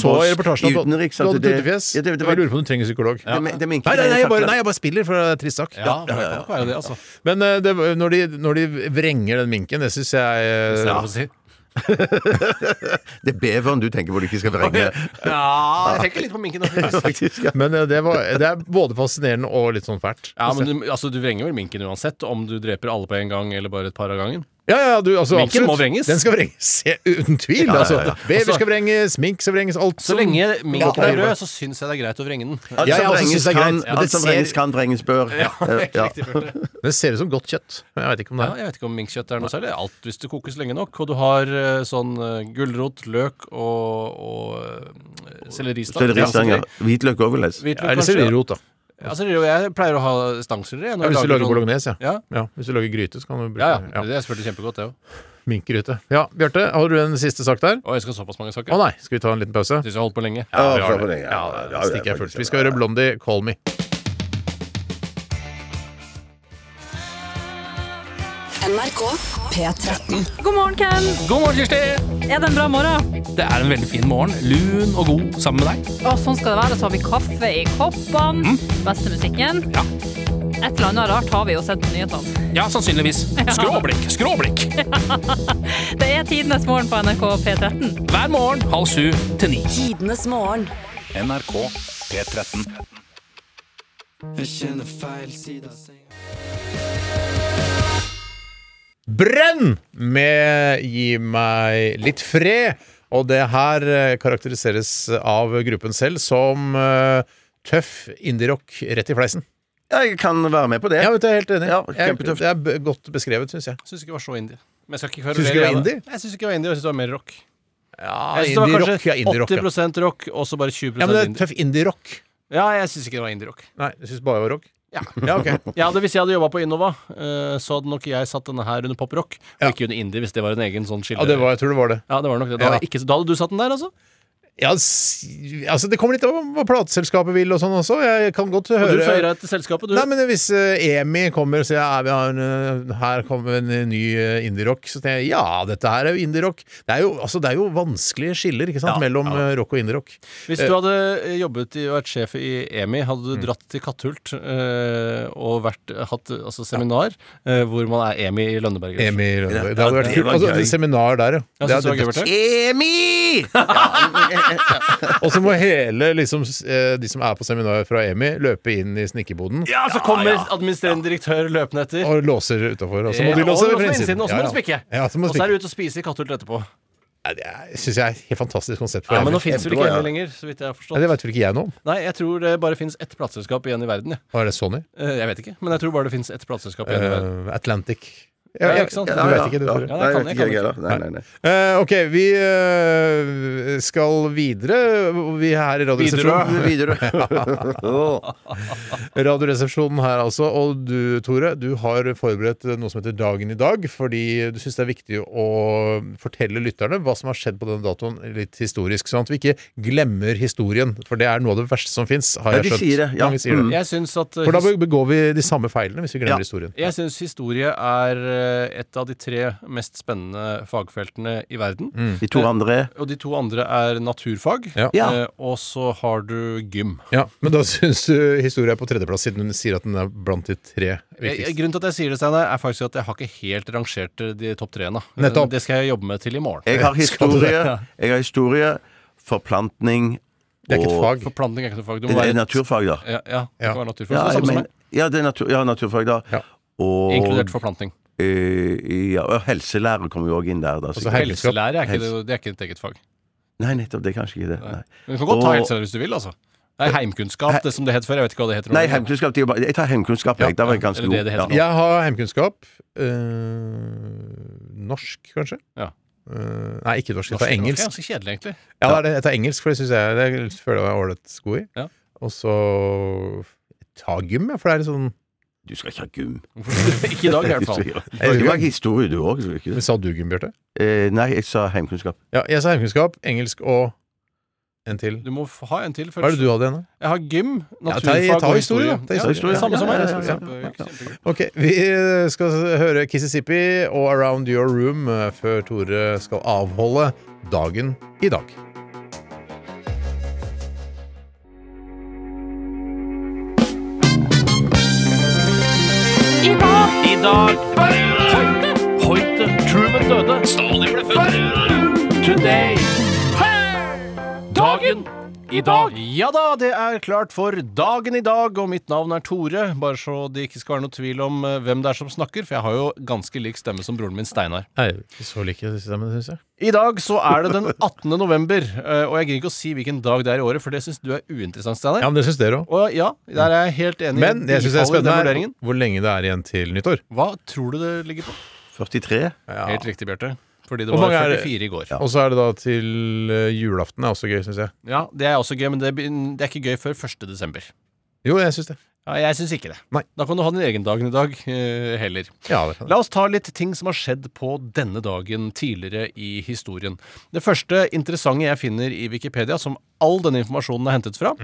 så
på
i
oss
reportasjen at du-
utenriks.
du
at
hadde
det-
tutefjes.
Ja, det, det var,
Jeg lurer på om du trenger psykolog.
det, det, det minker
Nei, nei,
jeg
nei, jeg bare,
takler.
nei, jeg bare spiller, for det er en trist sak.
Ja, det kan nok være det, altså.
Men eh, det, når, de, når de vrenger den minken, det syns jeg eh,
Ja. Si.
Det er beveren du tenker på du ikke skal
(laughs)
vrenge.
ja, jeg tenker litt på
(laughs)
minken. da.
Faktisk, ja.
Men eh, det, var, det er både fascinerende og litt sånn fælt.
Ja, men du, altså, du vrenger vel minken uansett, om du dreper alle på en gang eller bare et par av gangen?
Ja, ja, du, altså,
Minken må
absolutt.
vrenges.
Den skal vrenges, (laughs) ja, uten tvil.
ja,
Altså,
ja.
Bever
Altså-
skal vrenges, mink skal vrenges, alt
Så lenge minken
Ja.
er rød, så syns jeg det er greit å vrenge den.
Alt
Ja, jeg
som
også synes
vrenges
det er
kan,
greit. Ja,
alt
det
som
ser-
vrenges kan, vrenges bør.
(laughs)
Ja.
Det ser ut som godt kjøtt. men Jeg vet ikke om det
Ja,
er
jeg vet ikke om minkkjøtt er noe særlig. Alt hvis det kokes lenge nok. Og du har eh, sånn eh, gulrot, løk og, og eh, selleristang.
Selleristang, ja. Hvitløk òg, vil jeg si.
Hvitløk,
Eller
kanskje, ja.
sellerirot, da.
Ja, selleri, og jeg pleier å ha stangselleri.
Ja, hvis du lager bolognese, ja.
sånn- Ja.
ja. Hvis du lager gryte, så kan du bruke
Ja, ja.
ja.
Det spurte kjempegodt, det òg.
minkgryte. Ja, Bjarte, har du en siste sak der?
Og jeg skal ha såpass mange
Å
saker.
nei, skal vi ta en liten pause?
Syns jeg holdt på lenge.
Ja,
vi har
for
det.
lenge.
Ja,
Ja,
da
ja,
stikker jeg
faktisk,
først. Vi skal høre Blondie, 'Call Me'.
NRK P13.
God morgen, Ken.
God morgen, Kirsti!
Er det en bra morgen?
Det er en veldig fin morgen. Lun og god sammen med deg.
Og sånn skal det være. Så har vi kaffe i koppene. Beste musikken.
Ja.
Et eller annet rart har vi jo sett på nyhetene.
Ja, sannsynligvis. Skråblikk, skråblikk.
Det er tidenes morgen på NRK P13.
Hver morgen halv sju til ni.
Tidenes morgen.
NRK P13.
Brenn med Gi meg litt fred. Og det her eh, karakteriseres av gruppen selv som eh, tøff indie-rock rett i fleisen.
Ja, jeg kan være med på det.
Ja, vet du, jeg er helt enig.
Ja,
jeg,
kjempetøft.
det er b- godt beskrevet, syns jeg.
Syns ikke det var så indie. Men jeg skal ikke
Syns ikke det var
kverulere.
indie?
Jeg syns ikke det var indie, og jeg syns det var mer rock.
Ja,
Jeg synes det var
indie-rock. Ja,
kanskje
indie-rock. Ja.
80 rock, og så bare 20
ja, men det er
indie.
tøff indie-rock.
Ja, jeg syns ikke det var indie-rock.
Nei, jeg syns bare det var rock. (laughs)
Ja.
Ja, ok.
Ja, det Hvis jeg hadde jobba på Innova, eh, så hadde nok jeg satt denne her under poprock, og
Ja.
ikke under indie, hvis det var en egen sånn skille.
Ja, det var, jeg tror det var det.
Ja, det var nok det. Da, hadde
Ja.
jeg ikke, da hadde du satt den der, altså?
Ja, s- altså, det kommer litt an på hva plateselskapet vil og sånn også. Jeg kan godt høre
Og du føyer deg til selskapet, du.
Nei, men hvis eh, Emi kommer og sier ja, vi har en, eh, her kommer en eh, ny eh, indie-rock, så tenker jeg ja, dette her er jo indie-rock. Det, er jo- altså, det er jo vanskelige skiller ikke sant, mellom eh, rock og indie-rock.
Hvis du hadde eh, jobbet i, og vært sjef i EMI, hadde
Mm.
du dratt til Katthult eh, og vært, hatt eh, altså, seminar eh, hvor man er EMI i Lønneberg. eller?
Emi Rønneberg. Det hadde vært
det
kult.
var
Altså,
gøy.
et seminar der, ja.
Ja,
Det
synes du det
hadde-
var gøy, Bjarte?
Emi!
(laughs) og så må hele liksom, s- eh, de som er på seminar fra Emi, løpe inn i snikkeboden.
Ja, så kommer administrerende direktør løpende etter.
Og låser utafor. Og så må
Eh,
de låse
og
ved
låser på
innsiden.
innsiden, og så må de spikke.
Ja, så må
Og
de
så
spikke.
er du ute og spiser i Katthult etterpå.
Ja, det syns jeg er et helt fantastisk konsept. For
Ja, men
Emi.
nå fins vel
Kjempebra, ja.
ikke EMI lenger, så vidt jeg
Ja,
har forstått.
det veit vel ikke jeg noe om.
Nei, jeg tror det bare fins ett plateselskap igjen i verden. jeg.
Var det Sony?
Eh, Jeg vet ikke, men jeg tror bare det fins ett plateselskap igjen i verden.
Eh, Atlantic?
Ja, ikke sant?
Du
Ja,
vet
ja,
ikke, du,
ja.
Tore?
Ja,
Nei, jeg
det
vet
kan jeg,
ikke
kan
jeg
jeg.
heller. Nei, nei, nei.
Eh, ok, vi eh, skal videre. Vi er her i Radioresepsjonen. (laughs)
Videre.
Radioresepsjonen her altså. Og du, Tore, du har forberedt noe som heter Dagen i dag, fordi du syns det er viktig å fortelle lytterne hva som har skjedd på denne datoen, litt historisk. Sånn at vi ikke glemmer historien, for det er noe av det verste som fins, har
Ja,
jeg
de
skjønt.
sier det, ja.
Mange sier det.
Mm.
Jeg syns at eh,
For da
his-
begår vi de samme feilene hvis vi glemmer historien.
Jeg syns historie er eh, et av de tre mest spennende fagfeltene i verden.
De to andre er
Og de to andre er naturfag,
Mm. Ja.
Ja.
eh, og så har du gym.
Ja, Men da syns du historien er på tredjeplass, siden hun sier at den er blant de tre
Jeg, jeg-
viktigste.
grunnen til at jeg sier det, Steinar, er faktisk at jeg har ikke helt rangert eh, de topp treene. Eh,
Nettopp.
Det skal jeg jobbe med til i morgen.
Jeg
(laughs)
har
Skal du det?
historie, jeg har historie forplantning
Det er ikke et
og
fag.
Forplanting er ikke noe fag. Du
Det
må
er
være
naturfag, da.
Ja, ja, det
Ja.
kan være naturfag.
Ja,
det er
jeg
samme som
mener-
meg.
ja, det er natur, ja naturfag, da.
Ja.
Og,
Inkludert forplanting.
eh, ja, og helselærer kommer jo òg inn der. Da,
så
sikkert.
Helseskap.
Helselære er ikke, det, det er ikke et eget fag.
Nei, nettopp. Det er kanskje ikke det. Nei,
Men du kan godt ta
Og-
helselære hvis du vil, altså. Det er heimkunnskap, det som det het før. Jeg vet ikke hva det heter. nå.
Nei heimkunnskap. det er jo bare- Jeg tar heimkunnskap, jeg. Da var jeg
ja,
ganske
eller det
god.
det
Ja.
heter nå.
Jeg har heimkunnskap. eh, norsk, kanskje?
Ja.
Eh, nei, ikke norsk. Jeg
Norsk
tar
er nok
engelsk.
Ganske kjedelig, egentlig.
Ja, det er det. Jeg tar engelsk, for det syns jeg det føler jeg meg ålreit god i.
Ja.
Og så ta gym, jeg, for det er litt sånn
Du skal ikke ha gym.
(laughs) ikke i
(laughs)
dag, i hvert fall.
Det var historie, du òg. skulle du ikke
Men
det?
Sa du gym, Bjarte?
Eh, Nei, jeg sa heimkunnskap.
Ja, jeg sa heimkunnskap, engelsk og en til.
Du må f- ha en til
Hva er
først.
det du hadde igjen? da?
Jeg har gym,
ta- ta
naturfag og
historie,
historie.
da. Ta
Ja,
historie.
Samme som
Ja,
meg.
ja, ja, ja.
Kjempe- kjempegøy.
Ok, vi skal høre Kississippi og Around Your Room eh, før Tore skal avholde dagen i dag.
I dag Hoite, Hoite, Truman døde. Stalin ble født. Today. Dagen
i dag? Ja da, det er klart for dagen i dag, og mitt navn er Tore. Bare så det ikke skal være noe tvil om eh, hvem det er som snakker, for jeg har jo ganske lik stemme som broren min Steinar.
Nei, ikke så like stemmen, syns jeg.
I dag så er det den (laughs) 18. november, eh, og jeg gidder ikke å si hvilken dag det er i året, for det syns du er uinteressant, Steinar.
Ja, men det syns dere òg.
Og ja, der er jeg helt enig.
Men jeg syns det er
Bifaller den
spennende
vurderingen.
er hvor lenge det er igjen til nyttår.
Hva tror du det ligger på?
43?
Helt riktig, Bjarte. Fordi det
Hvor
var
mange er det?
44 i går.
Og så er det da til eh, julaften er også gøy, syns jeg.
Ja, Det er også gøy, men det, begyn- det er ikke gøy før 1. desember.
Jo, jeg syns det.
Ja, jeg syns ikke det.
Nei.
Da kan du ha din egen dag i dag eh, heller.
Ja, det kan jeg.
La oss ta litt ting som har skjedd på denne dagen tidligere i historien. Det første interessante jeg finner i Wikipedia, som all denne informasjonen er hentet fra,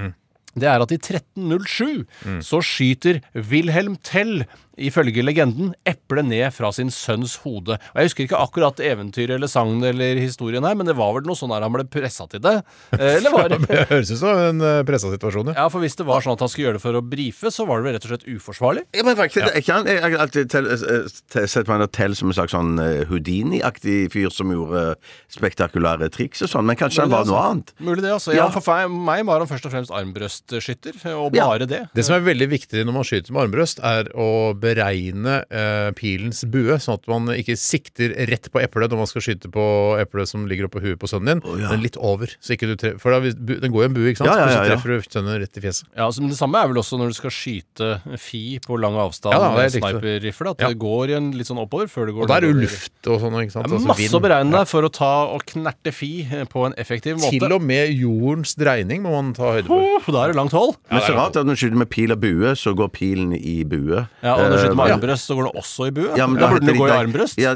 det er at i 1307 så skyter Wilhelm Tell, ifølge legenden, eplet ned fra sin sønns hode. Og Jeg husker ikke akkurat eventyret eller sagnet eller historien her, men det var vel noe sånn her han ble pressa til det? Eh, Eller var det
(laughs) (laughs) Det høres ut som en eh, pressa situasjon, ja.
Ja, for hvis det var sånn at han skulle gjøre det for å brife, så var det vel rett og slett uforsvarlig?
Ja, men faktisk, er ikke han, Jeg har alltid tell, eh, te- sett på han og tell som en slags sånn eh, Houdini-aktig fyr som gjorde eh, spektakulære triks og sånn, men kanskje han var noe annet.
Mulig det, altså.
Ja.
Ja, for fe- meg var han først og fremst armbrøstskytter, og
Ja.
bare det.
Det som er veldig viktig når man skyter med armbrøst, er å beregne eh, pilens bue, sånn at man ikke sikter rett på eplet når man skal skyte på eplet som ligger oppå huet på sønnen din,
ja.
men litt over. Så ikke du tre for da, hvis bu- den går jo en bue, ikke sant?
Ja, ja,
Så
ja, ja.
treffer du sønnen rett i fjeset.
Ja, altså, men Det samme er vel også når du skal skyte fi på lang avstand
Ja da,
med
det er riktig.
sniperrifle. At
Ja.
det går i en litt sånn oppover før det går
Og da er det jo
nedover.
luft og sånn, ikke sant?
Det er
Altså
masse
vind.
å beregne der for å ta og knerte fi eh, på en effektiv måte.
Til og med jordens dreining må man ta høyde for.
Da er det langt hold.
Men så rart at når du skyter med pil og bue, så går pilen i bue.
Ja, og når du
Eh,
skyter med armbrøst, så går det også i bue.
ja, men
da
heter
burde det
det
gå i
ikke-
armbrøst.
Ja,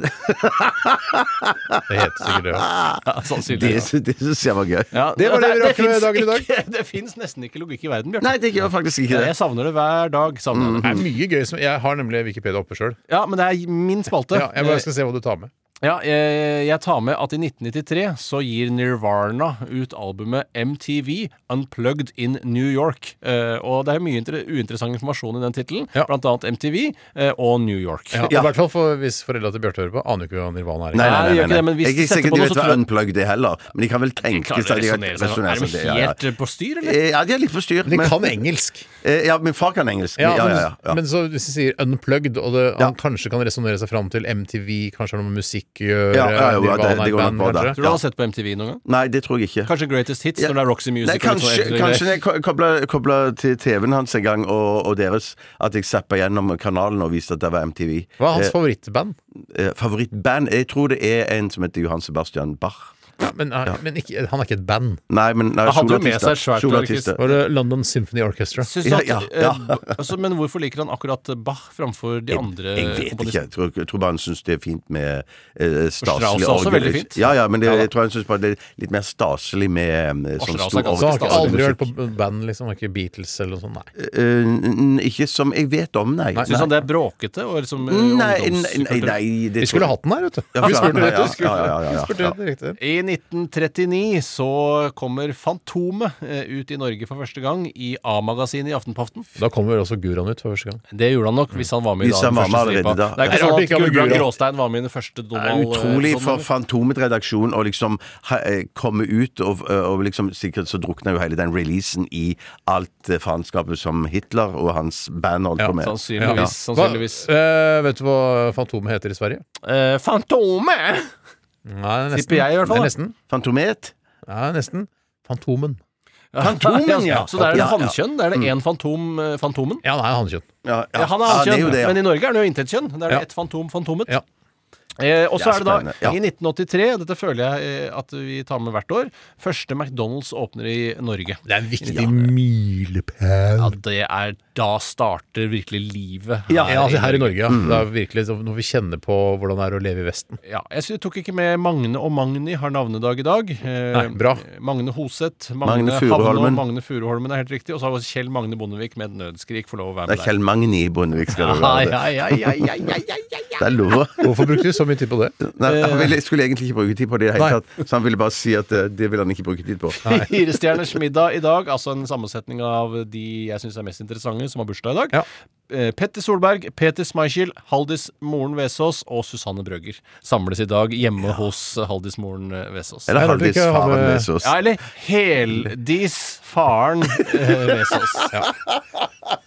Det
(laughs)
heter sikkert det. ja.
Ja, sannsynlig,
det
ja.
sy- det syns jeg var gøy.
Ja,
Det var det vi rakk for
finnes
dagen i dag.
ikke- (laughs) Det fins nesten ikke logikk i verden, Bjarte.
Nei, det gjør faktisk ikke
Jeg
det.
savner det hver dag. Savner jeg det.
Det er mye gøy som Jeg har nemlig Wikipedia oppe sjøl.
Ja, men det er min spalte.
Ja, jeg bare skal se hva du tar med.
Ja, eh, jeg, jeg tar med at i 1993 så gir Nirvana ut albumet MTV Unplugged in New York. Eh, og det er mye inter uinteressant informasjon i den tittelen,
Ja.
blant annet MTV eh, og New York. (laughs)
Ja, I hvert fall for, hvis foreldra til Bjarte hører på, aner jo ikke hva Nirvana er.
Nei,
Nei,
nei,
det gjør
nei,
ikke
nei,
det, men
nei.
hvis
Jeg er
de
ikke
setter
sikker
på
de
noe,
vet
så
hva
tror jeg-
unplugged er heller, men de kan vel tenke seg
Klarer de
at de
å
har
resonnere seg?
resonert
Er
seg
de
det, sånn. ja, ja.
helt eh, på styr, eller?
Eh, Ja, de er litt på styr.
De
men-
kan engelsk.
Eh, Ja, min far kan engelsk. Ja, ja, ja. ja.
Men så hvis de sier 'unplugged', og det, han
Ja.
kanskje kan resonnere seg fram til MTV, kanskje har noe med musikk å gjøre
Ja, ja, jo,
Nirvana
ja, det-
er
det
et
går nok
band,
bra, da.
kanskje.
Tror du han har sett på MTV noen gang?
Nei, det tror jeg ikke.
Kanskje Greatest Hits
Ja.
når det er Roxy Music?
Nei,
og litt sånn
kanskje,
eldre
kanskje
greier.
jeg ko- kobla kobla til TV-en hans en gang og, og deres at jeg zappa gjennom kanalen og viste at det var MTV.
Hva er hans
Eh,
favorittband?
eh, favorittband? Jeg tror det er en som heter Johan Sebastian Bach.
Ja, men eh, men ikke, han er ikke et band.
Nei, men nei,
Han hadde jo med
soloartister.
seg svært
Soloartister.
Var det London Symphony Orchestra?
Syns du at,
Ja, ja, ja.
eh, b- altså, men hvorfor liker han akkurat Bach framfor de andre
Jeg vet ikke.
komponistene?
Jeg tror, jeg tror bare han syns det er fint med eh,
Strauss er
staselig
også
orgel.
veldig fint.
Ja, ja, men det,
Ja da.
jeg tror han syns bare det er litt mer staselig med eh, sånn
Strauss er
Så
stor
ganske
har ikke
orgel.
stas-
aldri
musikk.
hørt på band, liksom? Har ikke Beatles eller noe sånt? Nei.
Eh, n- Ikke som jeg vet om, nei.
Syns han det er bråkete? Og liksom, eh,
Nei, nei, nei,
ungdomskultur?
nei det
Vi
tror
skulle
jeg-
hatt den her, vet du.
Ja,
Vi
ja,
spurte
ja,
rett ut.
ja, ja, ja, ja,
Vi
ja.
spurte rett riktig.
I 1939 så kommer Fantomet eh, ut i Norge for første gang i A-magasinet i Aftenpaften.
Da kommer vel også Guran ut for første gang.
Det gjorde han nok hvis han var med i
Hvis
da,
han
den
var med
første
allerede
stripa.
da.
Det er ikke
Det er rart
sånn
ikke
at
han var
Gulbrand
Guran.
Gråstein var med i den første
Det er
Donald
utrolig
eh, sånn,
for
men-
Fantomet redaksjon å liksom ha, eh, komme ut og, og liksom Sikkert så drukna jo hele den releasen i alt eh, faenskapet som Hitler og hans band holdt på med.
Sannsynligvis.
Ja.
sannsynligvis.
Hva, eh, vet du hva Fantomet heter i Sverige?
Eh, Fantomet!
Nei, det er nesten.
Tipper jeg i hvert fall,
Det er
da.
nesten.
Fantomet?
Ja, nesten. Fantomen.
Fantomen,
ja.
Så det er det
Ja, ja.
hannkjønn. Det er det én fantom eh, Fantomen.
Ja, det er hannkjønn.
Ja,
Ja, han er
det
hannkjønn,
jo det, ja.
men i Norge er han jo intetkjønn. Det er det
Ja.
ett fantom Fantomet.
Ja.
Eh, og så
Det er
er det da,
spennende, ja.
i 1983, dette føler jeg eh, at vi tar med hvert år, første McDonald's åpner i Norge.
Det er en viktig milepæl.
Ja, det er Da starter virkelig livet her.
Ja, altså her i Norge, ja. Det er virkelig så- når vi kjenner på hvordan det er å leve i Vesten.
Ja, jeg sy- tok ikke med Magne og Magni har navnedag i dag. Eh,
Nei, bra.
Magne Hoseth,
Magne
Magne, Havne og
Furuholmen.
Magne Furuholmen er helt riktig. Og så har også Kjell Magne Bondevik med et nødskrik får lov å være
Det
med
er
der.
Kjell Magni Bondevik, skal det
Ja,
være.
ja, Eh. ja, ja, ja, ja, ja, ja, ja.
Det er lov.
Hvorfor brukte vi så mye tid på det.
Nei, han ville, skulle egentlig ikke bruke tid på det i det hele
Nei.
tatt, så han ville bare si at eh, det vil han ikke bruke tid på.
Firestjerners middag i dag, altså en sammensetning av de jeg syns er mest interessante, som har bursdag i dag. Eh, Petter Solberg, Peter Schmeichel, Haldis Moren Vesaas og Susanne Brøgger samles i dag hjemme hos Haldis Moren Vesaas.
Eller
Jeg rart
Haldis
ikke å ha
faren
med-
Vesaas.
eh, Ja, eller Heldis faren eh,
(laughs)
Vesaas.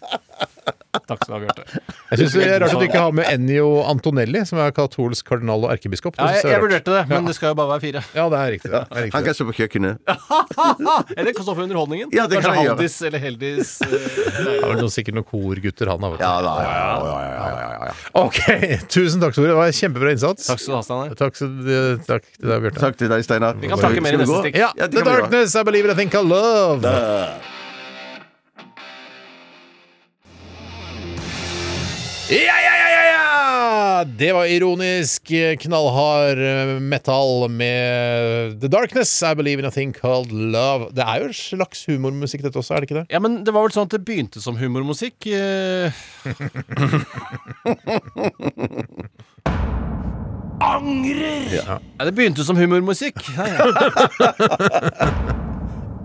Takk skal du ha, Bjarte.
Jeg synes det er Rart at du ikke har med Ennio Antonelli, som er katolsk kardinal og erkebiskop.
Ja,
Det synes
jeg,
jeg er
jeg
rart.
vurderte det, men det skal jo bare være fire.
Ja, det er riktig. Det er
Han
riktig.
kan stå på kjøkkenet.
Ah, Eller kan stå for Underholdningen.
Ja, det kan
Kanskje
jeg gjøre.
Haldis eller Heldis eh,
Det er vel noen, sikkert noen korgutter han har. vet du.
Ja, da, ja, ja, ja, ja, ja, ja, ja.
Ok, tusen takk, Tore. Det var en kjempebra innsats.
Takk skal du ha, Steinar.
Takk, skal- takk til deg, Bjarte.
Takk til deg, Steinar.
Vi kan snakke mer i neste stikk.
Ja,
Ja, det
The
kan vi gjøre.
Darkness, I Believe It, I Think I Love. Ja, ja, ja, ja, ja! Det var ironisk knallhard eh, metal med The Darkness, I Believe In A Thing Called Love. Det er jo en slags humormusikk, dette også, er det ikke det?
Ja, men det var vel sånn at det begynte som humormusikk. eh,
Angrer!
Ja, det begynte som humormusikk. Nei, ja. (laughs)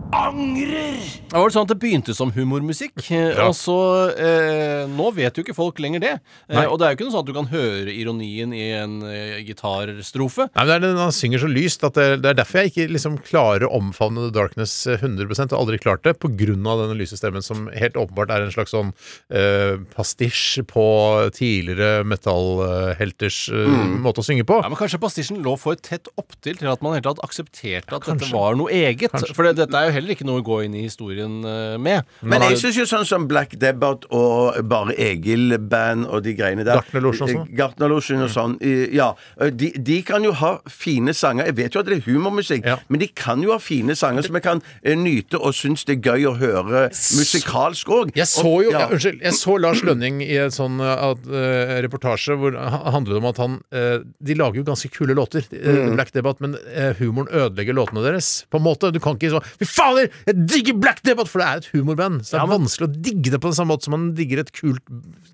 Angrer!
Det var vel sånn at det begynte som humormusikk, eh, og så eh, Nå vet jo ikke folk lenger det. Eh, og det er jo ikke noe sånn at du kan høre ironien i en eh, gitarstrofe.
Nei, men det er den, Han synger så lyst at det, det er derfor jeg ikke liksom klarer å omfavne The Darkness 100 og aldri klart det, pga. denne lyse stemmen som helt åpenbart er en slags sånn eh, pastisj på tidligere metallhelters eh, måte å synge på.
Ja, men Kanskje pastisjen lå for tett opptil til at man helt tatt aksepterte at dette var noe eget. For det, dette er jo heller ikke noe å gå inn i historien eh, med.
Men
Man har
jeg
jo-
syns jo sånn som Black Debbat og Bare Egil-band og de greiene der
Gartnerlosjen og sånn.
Gartnerlosjen og sånn. eh, Ja. De, de kan jo ha fine sanger. Jeg vet jo at det er humormusikk,
Ja.
men de kan jo ha fine sanger som jeg kan eh, nyte og synes det er gøy å høre musikalsk òg.
Jeg så jo, ja. unnskyld, jeg så Lars Lønning i en sånn eh, at, eh, reportasje hvor det ha- handlet om at han eh, De lager jo ganske kule låter, eh, Black Debate, men eh, humoren ødelegger låtene deres. På en måte, Du kan ikke sånn Fy fader, jeg digger Black Debate! For det er et humorband. Så det er vanskelig å digge det på den samme måte som man digger et kult,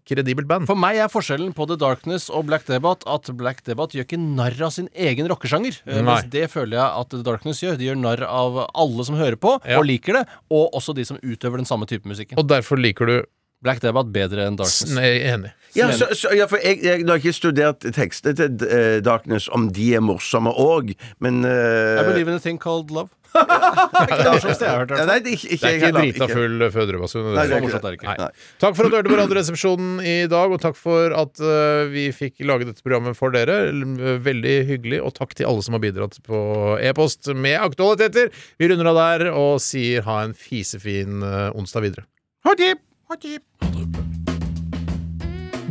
kredibelt band.
For meg er forskjellen på The Darkness og Black Debate at Black Debate gjør ikke narr av sin egen rockesjanger. Eh, Mens
Nei.
det føler jeg at The Darkness gjør. De gjør narr av alle som hører på
Ja.
og liker det, og også de som utøver den samme type musikken.
Og derfor liker du
Black Debate bedre enn Darkness.
Nei, Enig.
Ja, så, så, ja, for jeg, jeg, jeg har ikke studert tekstene til eh, Darkness, om de er morsomme òg, men eh,
I believe in a thing called love. Ikke det morsomste jeg har hørt. i
ja,
hvert fall.
Nei, det er ikke, ikke
Det er
jeg
ikke
heller,
drita full Føderødbastion.
Nei, det
Så
er ikke
morsomt
det.
er det ikke.
Nei.
Takk for at du hørte på Radioresepsjonen i dag, og takk for at eh, vi fikk lage dette programmet for dere. L- Veldig hyggelig, og takk til alle som har bidratt på e-post med aktualiteter. Vi runder av der og sier ha en fisefin eh, onsdag videre.